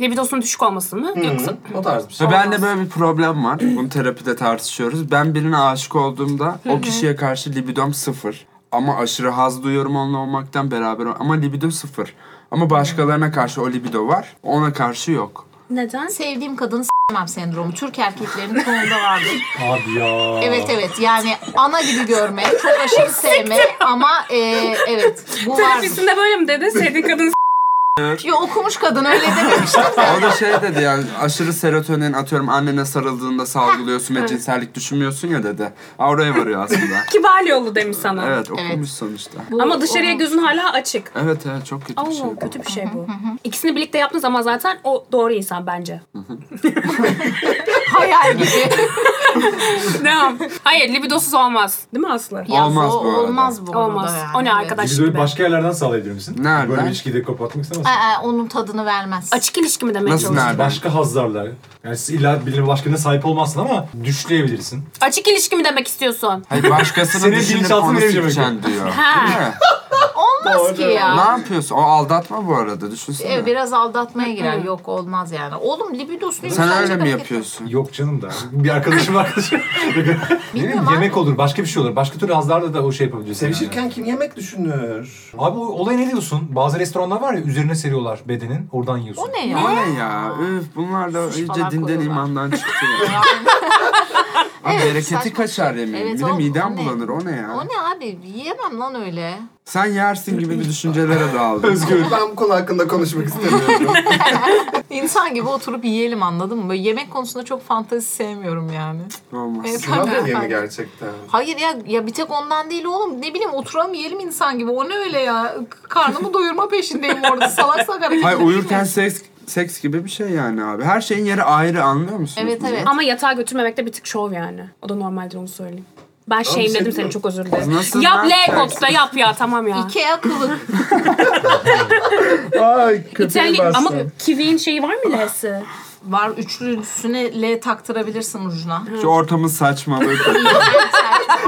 Speaker 3: Libidosunun düşük olması mı? Yoksa
Speaker 6: O tarz bir şey.
Speaker 1: Ve bende böyle bir problem var. Bunu terapide tartışıyoruz. Ben birine aşık olduğumda o kişiye karşı libidom sıfır. Ama aşırı haz duyuyorum onunla olmaktan beraber. Ama libido sıfır. Ama başkalarına karşı o libido var. Ona karşı yok.
Speaker 3: neden?
Speaker 2: Sevdiğim kadını s**mem sendromu. Türk erkeklerinin konuda vardır.
Speaker 4: Abi ya.
Speaker 2: evet evet yani ana gibi görme, çok aşırı sevme ama e, evet bu vardır.
Speaker 3: Terapisinde böyle mi dedi? Sevdiğin kadın
Speaker 2: Yo, okumuş kadın öyle dememiştim de.
Speaker 1: O da şey dedi yani aşırı serotonin atıyorum annene sarıldığında salgılıyorsun ve cinsellik düşünmüyorsun ya dedi. Aa, Oraya varıyor aslında.
Speaker 3: kibar yolu demiş sana.
Speaker 1: Evet okumuş sonuçta.
Speaker 3: Ama dışarıya gözün hala açık.
Speaker 1: Evet evet çok kötü bir şey.
Speaker 3: Oo, kötü bir şey bu. İkisini birlikte yaptığın zaman zaten o doğru insan bence.
Speaker 2: Hayal gibi.
Speaker 3: Devam. Hayır libidosuz olmaz. Değil mi Aslı?
Speaker 2: Ya,
Speaker 1: Olmaz
Speaker 2: o-
Speaker 1: bu arada.
Speaker 2: Olmaz bu arada
Speaker 3: Olmaz.
Speaker 2: yani,
Speaker 3: O ne
Speaker 2: evet.
Speaker 3: arkadaş
Speaker 4: Libidoyu
Speaker 3: gibi.
Speaker 4: başka yerlerden sağlayabilir misin?
Speaker 1: Nereden?
Speaker 4: Böyle bir ilişkiyi kapatmak istemezsin.
Speaker 2: Aa, onun tadını vermez.
Speaker 3: Açık ilişki mi demek
Speaker 1: Nasıl
Speaker 3: çalışıyorsun?
Speaker 1: nerede?
Speaker 4: Başka hazlarla. Yani siz illa birine başkalarına sahip olmazsın ama düşleyebilirsin.
Speaker 3: Açık ilişki mi demek istiyorsun?
Speaker 1: Hayır başkasını
Speaker 4: Senin
Speaker 1: düşünüp
Speaker 4: bilinçaltın
Speaker 1: onu
Speaker 4: öyle bir şey
Speaker 1: sikeceksin diyor.
Speaker 3: Ha.
Speaker 1: Değil mi?
Speaker 2: Olmaz ki ya.
Speaker 1: Ne yapıyorsun? O aldatma bu arada düşünsene.
Speaker 2: E, biraz aldatmaya girer. Yok olmaz yani. Oğlum libidosunu
Speaker 1: Sen
Speaker 2: yükseltecek
Speaker 1: öyle mi
Speaker 2: hareket-
Speaker 1: yapıyorsun?
Speaker 4: Yok canım da. Bir arkadaşım arkadaşım. ne bileyim,
Speaker 2: abi.
Speaker 4: yemek olur, başka bir şey olur. Başka türlü hazlarla da o şey yapabilirsin. yani.
Speaker 6: Sevişirken kim yemek düşünür?
Speaker 4: Abi o olaya ne diyorsun? Bazı restoranlar var ya üzerine seriyorlar bedenin. Oradan yiyorsun.
Speaker 2: O ne
Speaker 1: O
Speaker 2: ya?
Speaker 1: ne ya? Üf bunlar da
Speaker 2: Suç
Speaker 1: iyice
Speaker 2: falan
Speaker 1: dinden
Speaker 2: koyuyorlar.
Speaker 1: imandan çıktı ya. Abi
Speaker 2: Evet,
Speaker 1: bereketi
Speaker 2: saçma. şey.
Speaker 1: kaçar yemeğin.
Speaker 2: Evet,
Speaker 1: bir de
Speaker 2: o-
Speaker 1: midem
Speaker 2: o ne?
Speaker 1: bulanır o ne ya?
Speaker 2: O ne abi? Yiyemem lan öyle.
Speaker 1: Sen yersin gibi bir düşüncelere daldın.
Speaker 6: Özgür. Ben bu konu hakkında konuşmak istemiyorum.
Speaker 2: İnsan gibi oturup yiyelim anladın mı? Böyle yemek konusunda çok fantezi sevmiyorum yani.
Speaker 1: Olmaz.
Speaker 2: Evet,
Speaker 6: Sınav
Speaker 2: ben-
Speaker 6: yemi gerçekten.
Speaker 2: Hayır ya ya bir tek ondan değil oğlum. Ne bileyim oturalım yiyelim insan gibi. O ne öyle ya? Karnımı doyurma peşindeyim orada. Salak salak hareket
Speaker 1: Hayır
Speaker 2: ediyorum.
Speaker 1: uyurken seks seks gibi bir şey yani abi. Her şeyin yeri ayrı anlıyor musunuz?
Speaker 2: Evet
Speaker 1: bunu?
Speaker 2: evet.
Speaker 3: Ama yatağa götürmemek de bir tık şov yani. O da normaldir onu söyleyeyim. Ben
Speaker 6: şey
Speaker 3: şeyimledim
Speaker 6: değil
Speaker 3: seni
Speaker 6: mi?
Speaker 3: çok özür dilerim.
Speaker 1: Nasıl
Speaker 3: yap
Speaker 1: lan sen?
Speaker 3: Legox'ta yap ya tamam ya.
Speaker 2: Ikea kılık.
Speaker 6: Ay
Speaker 3: İtalya ama Kiwi'nin şeyi var mı L'si?
Speaker 2: Var üçlüsüne L taktırabilirsin ucuna.
Speaker 1: Şu ortamın saçmalığı.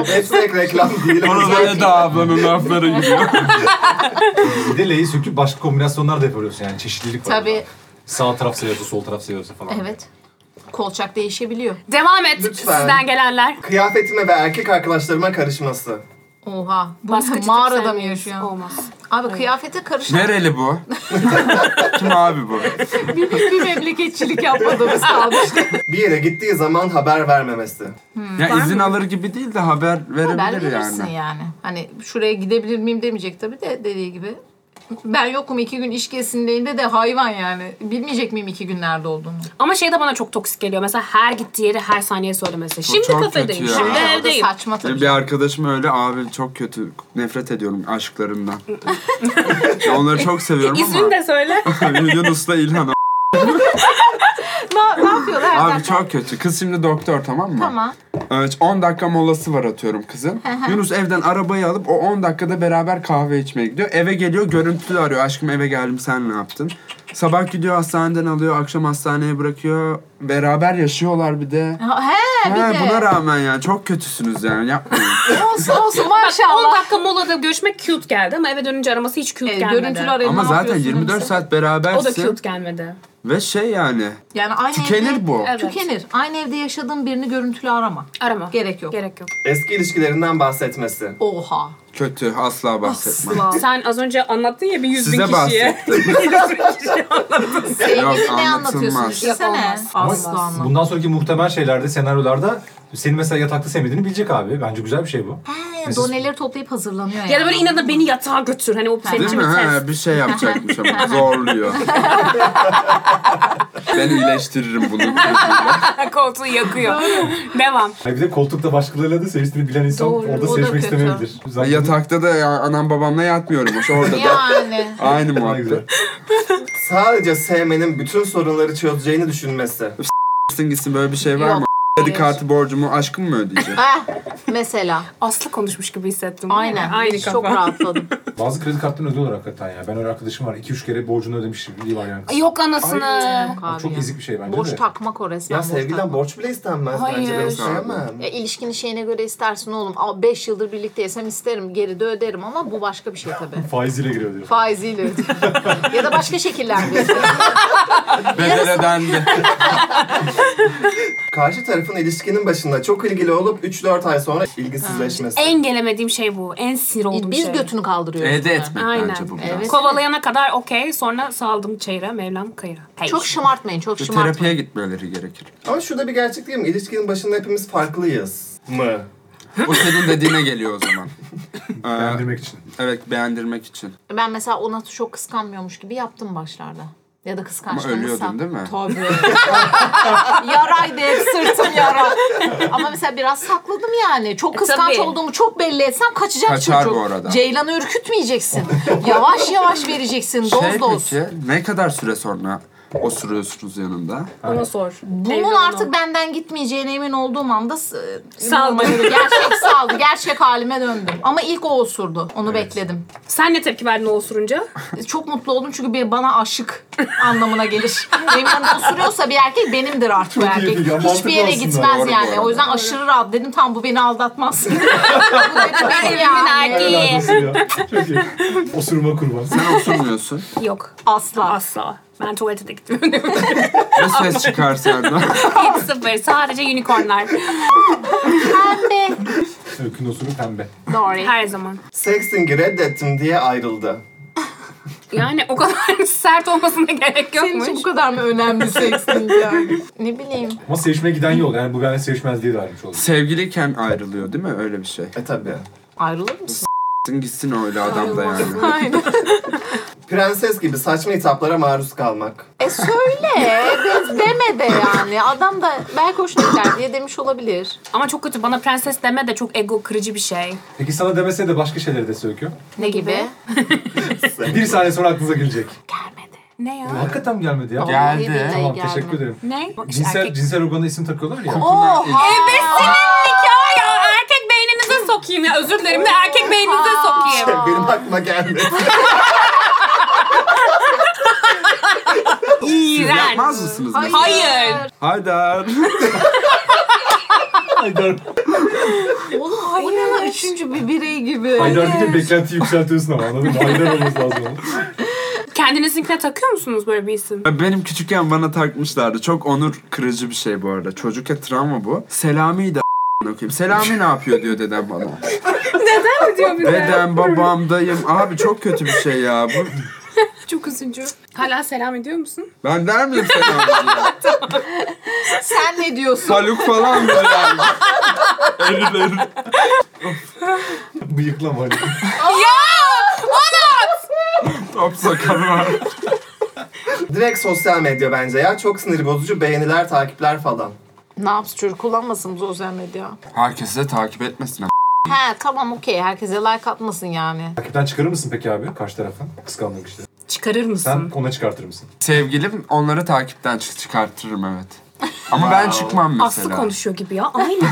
Speaker 6: Hepsi reklam değil.
Speaker 1: Bana böyle de ablanın lafları gidiyor.
Speaker 4: Bir de leği söküp başka kombinasyonlar da yapabiliyorsun yani çeşitlilik var.
Speaker 2: Tabii.
Speaker 4: Sağ taraf seviyorsa sol taraf seviyorsa falan.
Speaker 2: Evet. Kolçak değişebiliyor.
Speaker 3: Devam et
Speaker 6: Lütfen.
Speaker 3: sizden gelenler.
Speaker 6: Kıyafetime ve erkek arkadaşlarıma karışması.
Speaker 2: Oha. Bu
Speaker 3: Baskıcılık
Speaker 2: mağarada mı
Speaker 3: sevmeyiz.
Speaker 2: yaşıyor?
Speaker 3: Olmaz.
Speaker 2: Abi kıyafete karışan
Speaker 1: Nereli bu? Kim abi bu?
Speaker 2: bir, bir memleketçilik yapmadığımız kalmıştı.
Speaker 6: Bir yere gittiği zaman haber vermemesi.
Speaker 1: Ya izin alır gibi değil de haber verebilir
Speaker 2: Haber verirsin
Speaker 1: yani.
Speaker 2: yani. Hani şuraya gidebilir miyim demeyecek tabii de dediği gibi. Ben yokum iki gün iş gezisindeyinde de hayvan yani. Bilmeyecek miyim iki gün nerede olduğunu?
Speaker 3: Ama şey de bana çok toksik geliyor. Mesela her gittiği yeri her saniye söylemesi. Şimdi
Speaker 1: çok
Speaker 3: kafedeyim,
Speaker 1: kötü ya.
Speaker 3: şimdi
Speaker 1: Ha,
Speaker 2: Yani o da
Speaker 3: evdeyim.
Speaker 2: saçma
Speaker 1: Benim
Speaker 2: tabii.
Speaker 1: bir arkadaşım öyle abi çok kötü nefret ediyorum aşklarından. Ya Onları çok seviyorum
Speaker 3: İsmini E, de söyle.
Speaker 1: ama Yunus'la İlhan o-
Speaker 2: ne, ne yapıyorlar?
Speaker 1: abi çok kötü. Kız şimdi doktor tamam mı?
Speaker 2: Tamam.
Speaker 1: Evet, 10 dakika molası var atıyorum kızın. Yunus evden arabayı alıp o 10 dakikada beraber kahve içmeye gidiyor. Eve geliyor görüntülü arıyor. Aşkım eve geldim sen ne yaptın? Sabah gidiyor hastaneden alıyor. Akşam hastaneye bırakıyor. Beraber yaşıyorlar bir de.
Speaker 2: Ha, He bir
Speaker 1: Ha,
Speaker 2: de.
Speaker 1: buna rağmen yani çok kötüsünüz yani yapmayın.
Speaker 2: Olsun olsun
Speaker 3: 10
Speaker 2: maşallah.
Speaker 3: dakika molada görüşmek cute geldi ama eve dönünce araması hiç cute
Speaker 2: E,
Speaker 3: gelmedi.
Speaker 2: görüntülü arayın,
Speaker 1: Ama
Speaker 2: ne
Speaker 1: zaten
Speaker 2: yapıyorsun
Speaker 1: 24
Speaker 2: demişsin.
Speaker 1: saat
Speaker 3: O da
Speaker 1: berabersin
Speaker 3: cute gelmedi.
Speaker 1: ve şey yani
Speaker 2: Yani aynı evde-
Speaker 1: tükenir bu.
Speaker 3: Evet.
Speaker 2: Tükenir. Aynı evde yaşadığın birini görüntülü arama.
Speaker 3: Arama.
Speaker 2: Gerek yok.
Speaker 3: Gerek yok.
Speaker 6: Eski ilişkilerinden bahsetmesi.
Speaker 2: Oha.
Speaker 1: Kötü asla bahsetmem.
Speaker 3: Sen az önce anlattın ya bir Ah, yüz bin
Speaker 1: Size
Speaker 3: kişiye.
Speaker 1: bahsettim. Yok,
Speaker 2: Sevgili ne anlatıyorsun?
Speaker 1: anlatılmaz.
Speaker 2: Düşünsene.
Speaker 3: Yok,
Speaker 4: Ama
Speaker 2: Asla anlamaz.
Speaker 4: bundan sonraki muhtemel şeylerde, senaryolarda senin mesela yatakta sevmediğini bilecek abi. Bence güzel bir şey bu.
Speaker 2: He, doneleri toplayıp hazırlanıyor yani.
Speaker 3: Ya da böyle inadına beni yatağa götür. Hani o senin
Speaker 1: Değil
Speaker 3: için
Speaker 1: mi?
Speaker 3: bir test.
Speaker 1: Ha, bir şey yapacakmış ama zorluyor. ben iyileştiririm bunu.
Speaker 3: Koltuğu yakıyor. Devam.
Speaker 4: Hayır, bir de koltukta başkalarıyla da seviştiğini bilen insan
Speaker 2: Doğru,
Speaker 4: orada
Speaker 2: o da
Speaker 4: sevişmek
Speaker 2: kötü.
Speaker 4: istemeyebilir. Zaten
Speaker 1: Yatakta da ya, anam babamla yatmıyorum. İşte Orada da
Speaker 2: Yani.
Speaker 1: aynı
Speaker 4: Ne güzel.
Speaker 1: muhabbet.
Speaker 6: Sadece sevmenin bütün sorunları çözeceğini düşünmesi.
Speaker 1: Gitsin gitsin böyle bir şey var
Speaker 2: Yok.
Speaker 1: mı? Dedikati borcumu aşkım mı ödeyecek?
Speaker 2: Heh, mesela.
Speaker 3: Aslı konuşmuş gibi hissettim.
Speaker 2: Aynen.
Speaker 3: Aynı kafa.
Speaker 2: Çok rahatladım.
Speaker 4: Bazı kredi kartlarını ödüyorlar hakikaten ya. Ben öyle arkadaşım var. 2-3 kere borcunu ödemişliği var yani.
Speaker 3: Ay, Yok anasını.
Speaker 4: Bu
Speaker 2: Abi
Speaker 4: Çok
Speaker 2: ya.
Speaker 4: ezik bir şey bence
Speaker 2: Borç
Speaker 4: de.
Speaker 2: takmak o resmen.
Speaker 6: Ya
Speaker 2: borç
Speaker 6: sevgiden
Speaker 2: takmak.
Speaker 6: borç bile istenmez bence. Ben
Speaker 3: Hayır.
Speaker 6: sevmem.
Speaker 2: Ya ilişkinin şeyine göre istersin oğlum. 5 yıldır birlikteysem isterim. Geri de öderim ama bu başka bir şey tabii.
Speaker 4: Faiziyle giriyor diyor.
Speaker 2: Faiziyle. ya da başka şekillerde.
Speaker 1: Bedel ödendi.
Speaker 6: Karşı tarafın ilişkinin başında çok ilgili olup 3-4 ay sonra ilgisizleşmesi.
Speaker 3: En gelemediğim şey bu. En sinir olduğum
Speaker 2: Biz
Speaker 3: şey.
Speaker 2: götünü kaldırıyoruz.
Speaker 1: Elde etmek
Speaker 3: Aynen.
Speaker 1: bence bu biraz.
Speaker 2: Evet.
Speaker 3: Kovalayana kadar okey. Sonra saldım çeyre. Mevlam kayıra. Hey.
Speaker 2: Çok şımartmayın, çok
Speaker 1: Bir
Speaker 2: şımartmayın.
Speaker 1: Terapiye gitmeleri gerekir.
Speaker 6: Ama şurada bir gerçek değil mi? İlişkinin başında hepimiz farklıyız mı?
Speaker 1: O senin dediğine geliyor o zaman. Ee,
Speaker 4: Beğendirmek için.
Speaker 1: evet beğendirmek için.
Speaker 2: Ben mesela ona çok kıskanmıyormuş gibi yaptım başlarda. Ya da kıskançlığımı
Speaker 1: Ama ölüyordun
Speaker 2: sak-
Speaker 1: değil mi?
Speaker 2: Tabii. Yaraydı hep sırtım yara. Ama mesela biraz sakladım yani. Çok kıskanç
Speaker 3: E, tabii.
Speaker 2: olduğumu çok belli etsem kaçacak
Speaker 1: Kaçar
Speaker 2: çocuk.
Speaker 1: bu arada.
Speaker 2: Ceylan'ı ürkütmeyeceksin. yavaş yavaş vereceksin. Doz
Speaker 1: Şey
Speaker 2: doz.
Speaker 1: peki ne kadar süre sonra osuruyorsunuz yanında?
Speaker 3: Ona sor.
Speaker 2: Bunun artık benden gitmeyeceğine emin olduğum anda s-
Speaker 3: Salma.
Speaker 2: gerçek saldı. Gerçek halime döndüm. Ama ilk o osurdu. Onu bekledim.
Speaker 3: Sen ne tepki verdin o osurunca?
Speaker 2: Çok mutlu oldum çünkü bir bana aşık anlamına gelir. Benim yanımda osuruyorsa bir erkek benimdir artık bu erkek.
Speaker 4: iyi, ya mantıklı
Speaker 2: Hiçbir yere
Speaker 4: aslında,
Speaker 2: gitmez
Speaker 1: doğru bu
Speaker 2: yani.
Speaker 1: arada.
Speaker 2: O yüzden aşırı rahat dedim tam bu beni aldatmaz. bu benim, benim
Speaker 3: Evimin
Speaker 2: yani.
Speaker 3: erkeği.
Speaker 4: Helal olsun ya. Çok iyi. Osuruma kurban.
Speaker 1: Sen Hani osurmuyorsun.
Speaker 3: Yok.
Speaker 2: Asla.
Speaker 3: Asla. Ben tuvalete de gitmiyorum.
Speaker 1: Ne ses çıkar senden?
Speaker 3: Hiç sıfır. Sadece unicornlar.
Speaker 2: Pembe.
Speaker 4: Öykünün osuru pembe.
Speaker 2: Doğru.
Speaker 3: Her zaman.
Speaker 6: Sexting'i reddettim diye ayrıldı.
Speaker 3: Yani o kadar sert olmasına gerek
Speaker 2: Senin
Speaker 3: yokmuş.
Speaker 2: için bu kadar mı önemli seksin yani? Ne bileyim.
Speaker 4: Ama sevişmeye giden yol. Yani bu benimle sevişmez diye de ayrılmış oldu.
Speaker 1: Sevgiliyken ayrılıyor değil mi? Öyle bir şey.
Speaker 6: E tabi.
Speaker 2: Ayrılır mısın?
Speaker 1: Gitsin gitsin öyle adam da yani.
Speaker 2: Aynen.
Speaker 6: Prenses gibi saçma hitaplara maruz kalmak.
Speaker 2: E söyle. Biz deme de yani. Adam da belki hoşuna gider diye demiş olabilir.
Speaker 3: Ama çok kötü. Bana prenses deme de çok ego kırıcı bir şey.
Speaker 4: Peki sana demese de başka şeyleri de söküyor.
Speaker 2: Ne gibi?
Speaker 4: Bir saniye sonra aklınıza gelecek.
Speaker 2: Gelmedi.
Speaker 3: Ne ya?
Speaker 4: Hakikaten mi gelmedi ya?
Speaker 1: Geldi.
Speaker 2: Vallahi billahi
Speaker 4: Tamam
Speaker 2: gelmedi.
Speaker 4: teşekkür ederim.
Speaker 3: Ne? Bak işte
Speaker 4: Cinsel,
Speaker 3: erkek-
Speaker 4: cinsel organa isim takıyorlar ya.
Speaker 2: Oha!
Speaker 3: Nikah ya erkek beyninize sokayım ya. Özür dilerim de erkek beyninize sokayım.
Speaker 6: Benim aklıma gelmedi.
Speaker 3: İğrenç.
Speaker 1: Yapmaz mısınız?
Speaker 2: Hayır.
Speaker 1: mesela?
Speaker 3: Hayır.
Speaker 1: Haydar.
Speaker 4: Haydar.
Speaker 2: Oğlum o ne lan üçüncü bir birey gibi.
Speaker 4: Haydar diye beklentiyi yükseltiyorsun ama anladın mı? Haydar olması lazım.
Speaker 3: Kendinizinkine takıyor musunuz böyle bir isim?
Speaker 1: Benim küçükken bana takmışlardı. Çok onur kırıcı bir şey bu arada. Çocukken travma bu. Selami'yi de okuyayım. Selami ne yapıyor diyor dedem bana.
Speaker 3: Ne diyor bize?
Speaker 1: Dedem, babam, dayım. Abi çok kötü bir şey ya. Bu...
Speaker 3: Çok üzücü. Hala selam ediyor musun?
Speaker 1: Ben der miyim Selami diye?
Speaker 2: Sen ne diyorsun?
Speaker 1: Saluk falan böyle yani. Erileri.
Speaker 4: Bıyıklama hani.
Speaker 1: Top sakalı var.
Speaker 6: Direkt sosyal medya bence ya. Çok sinir bozucu beğeniler, takipler falan.
Speaker 2: ne yapsın çocuk kullanmasın bu sosyal medya.
Speaker 1: Herkes de takip etmesin.
Speaker 2: He tamam okey herkese like atmasın yani.
Speaker 4: Takipten çıkarır mısın peki abi karşı taraftan? Kıskandığın kişileri.
Speaker 3: Çıkarır
Speaker 4: Sen
Speaker 3: mısın?
Speaker 4: ona çıkartır mısın?
Speaker 1: Sevgilim onları takipten çık- çıkartırım evet. Ama ben çıkmam mesela.
Speaker 3: Aslı konuşuyor gibi ya. Aynı.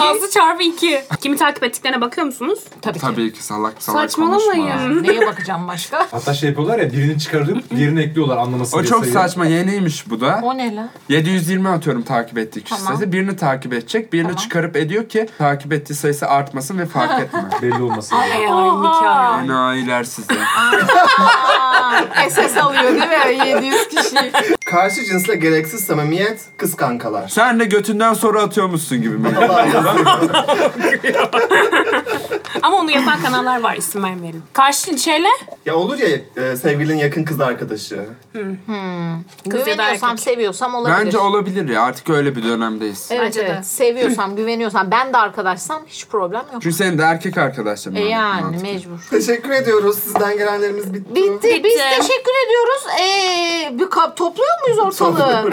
Speaker 3: Aslı çarpı iki. Kimi takip ettiklerine bakıyor musunuz?
Speaker 2: Tabii, ki.
Speaker 1: Tabii ki salak salak konuşma.
Speaker 3: Saçmalamayın.
Speaker 2: Neye bakacağım başka?
Speaker 4: Hatta şey yapıyorlar ya birini çıkarıp diğerini ekliyorlar anlaması
Speaker 1: O
Speaker 4: diye
Speaker 1: çok
Speaker 4: sayı.
Speaker 1: saçma yeniymiş bu da.
Speaker 2: O ne lan?
Speaker 1: 720 atıyorum takip ettiği kişi
Speaker 2: Tamam.
Speaker 1: sayısı. Birini takip edecek, birini çıkarıp ediyor ki takip ettiği sayısı artmasın ve fark etme.
Speaker 4: Belli olmasın.
Speaker 3: Ay, nikah.
Speaker 1: Enayiler size.
Speaker 2: SS alıyor değil mi? 700 kişi.
Speaker 6: Karşı cinsle gereksiz samimiyet, kız kankalar.
Speaker 1: Sen de götünden soru atıyormuşsun gibi. mi?
Speaker 3: Ama onu yapan kanallar var isim vermeyelim. Karşı şeyle
Speaker 6: Ya olur ya e, sevgilinin yakın kız arkadaşı.
Speaker 3: Kız ya da
Speaker 2: Güveniyorsam,
Speaker 3: erkek.
Speaker 2: seviyorsam olabilir.
Speaker 1: Bence olabilir ya artık öyle bir dönemdeyiz.
Speaker 2: Evet,
Speaker 3: Bence de.
Speaker 2: evet. Seviyorsam, güveniyorsam, ben de arkadaşsam hiç problem yok.
Speaker 1: Çünkü senin de erkek arkadaşların.
Speaker 2: E
Speaker 1: var.
Speaker 2: yani
Speaker 1: Mantıklı.
Speaker 2: mecbur.
Speaker 6: Teşekkür ediyoruz. Sizden gelenlerimiz bitti.
Speaker 2: Bitti. Biz
Speaker 3: Bitti.
Speaker 2: teşekkür ediyoruz. Ee, bir kap topluyor muyuz ortalığı?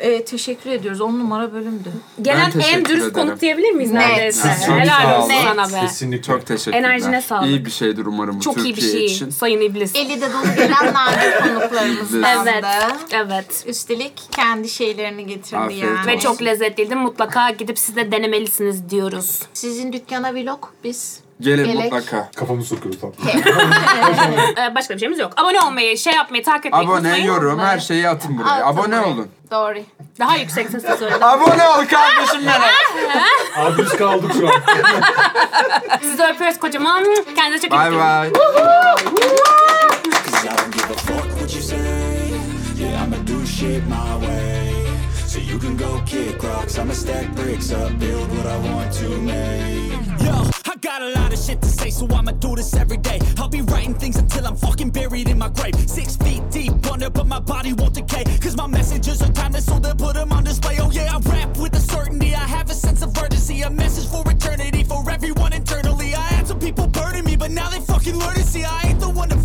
Speaker 2: ee, teşekkür ediyoruz. On numara bölümdü.
Speaker 3: gelen
Speaker 1: teşekkür
Speaker 3: en dürüst
Speaker 1: ederim.
Speaker 3: konuk diyebilir miyiz neredeyse?
Speaker 1: Siz çok
Speaker 3: Helal
Speaker 1: sağ
Speaker 3: olsun
Speaker 1: olun.
Speaker 3: sana be.
Speaker 4: Kesinlikle.
Speaker 1: Çok teşekkürler.
Speaker 3: Enerjine sağlık.
Speaker 1: İyi bir şeydir umarım bu
Speaker 3: Çok iyi
Speaker 1: Türkiye
Speaker 3: bir şey.
Speaker 1: için.
Speaker 3: Sayın İblis.
Speaker 2: Eli de dolu gelen nadir konuklarımızdan
Speaker 3: Evet.
Speaker 2: da.
Speaker 3: Evet.
Speaker 2: Üstelik kendi şeylerini getirdi
Speaker 1: Afiyet
Speaker 2: yani.
Speaker 3: Ve çok lezzetliydi. Mutlaka gidip siz de denemelisiniz diyoruz.
Speaker 2: Sizin dükkana vlog biz.
Speaker 1: Gelin
Speaker 2: Gerek.
Speaker 1: mutlaka.
Speaker 4: Kafamı sokuyoruz tamam.
Speaker 3: Ee, başka bir şeyimiz yok. Abone olmayı, şey yapmayı, takip etmeyi
Speaker 1: Abone,
Speaker 3: unutmayın.
Speaker 1: yorum, her şeyi atın buraya.
Speaker 2: Atın
Speaker 1: Abone
Speaker 2: buraya.
Speaker 1: olun.
Speaker 2: Doğru.
Speaker 3: Daha yüksek sesle söyledim.
Speaker 1: Abone ol kardeşim benim.
Speaker 4: Abi biz kaldık şu an.
Speaker 3: Sizi öpüyoruz kocaman. Kendinize çok iyi
Speaker 1: Bay
Speaker 3: bakın.
Speaker 1: bay.
Speaker 7: Cause I don't give a fuck what you say. Yeah, I'ma do shit my way. So you can go kick rocks. I'ma stack bricks up, build what I want to make. Yo, I got a lot of shit to say, so I'ma do this every day. I'll be writing things until I'm fucking buried in my grave. Six feet deep under, but my body won't decay. Cause my messages are timeless, so they'll put them on display. Oh yeah, I rap with a certainty. I have a sense of urgency, a message for eternity, for everyone internally. I had some people burning me, but now they fucking learn to see I ain't the one to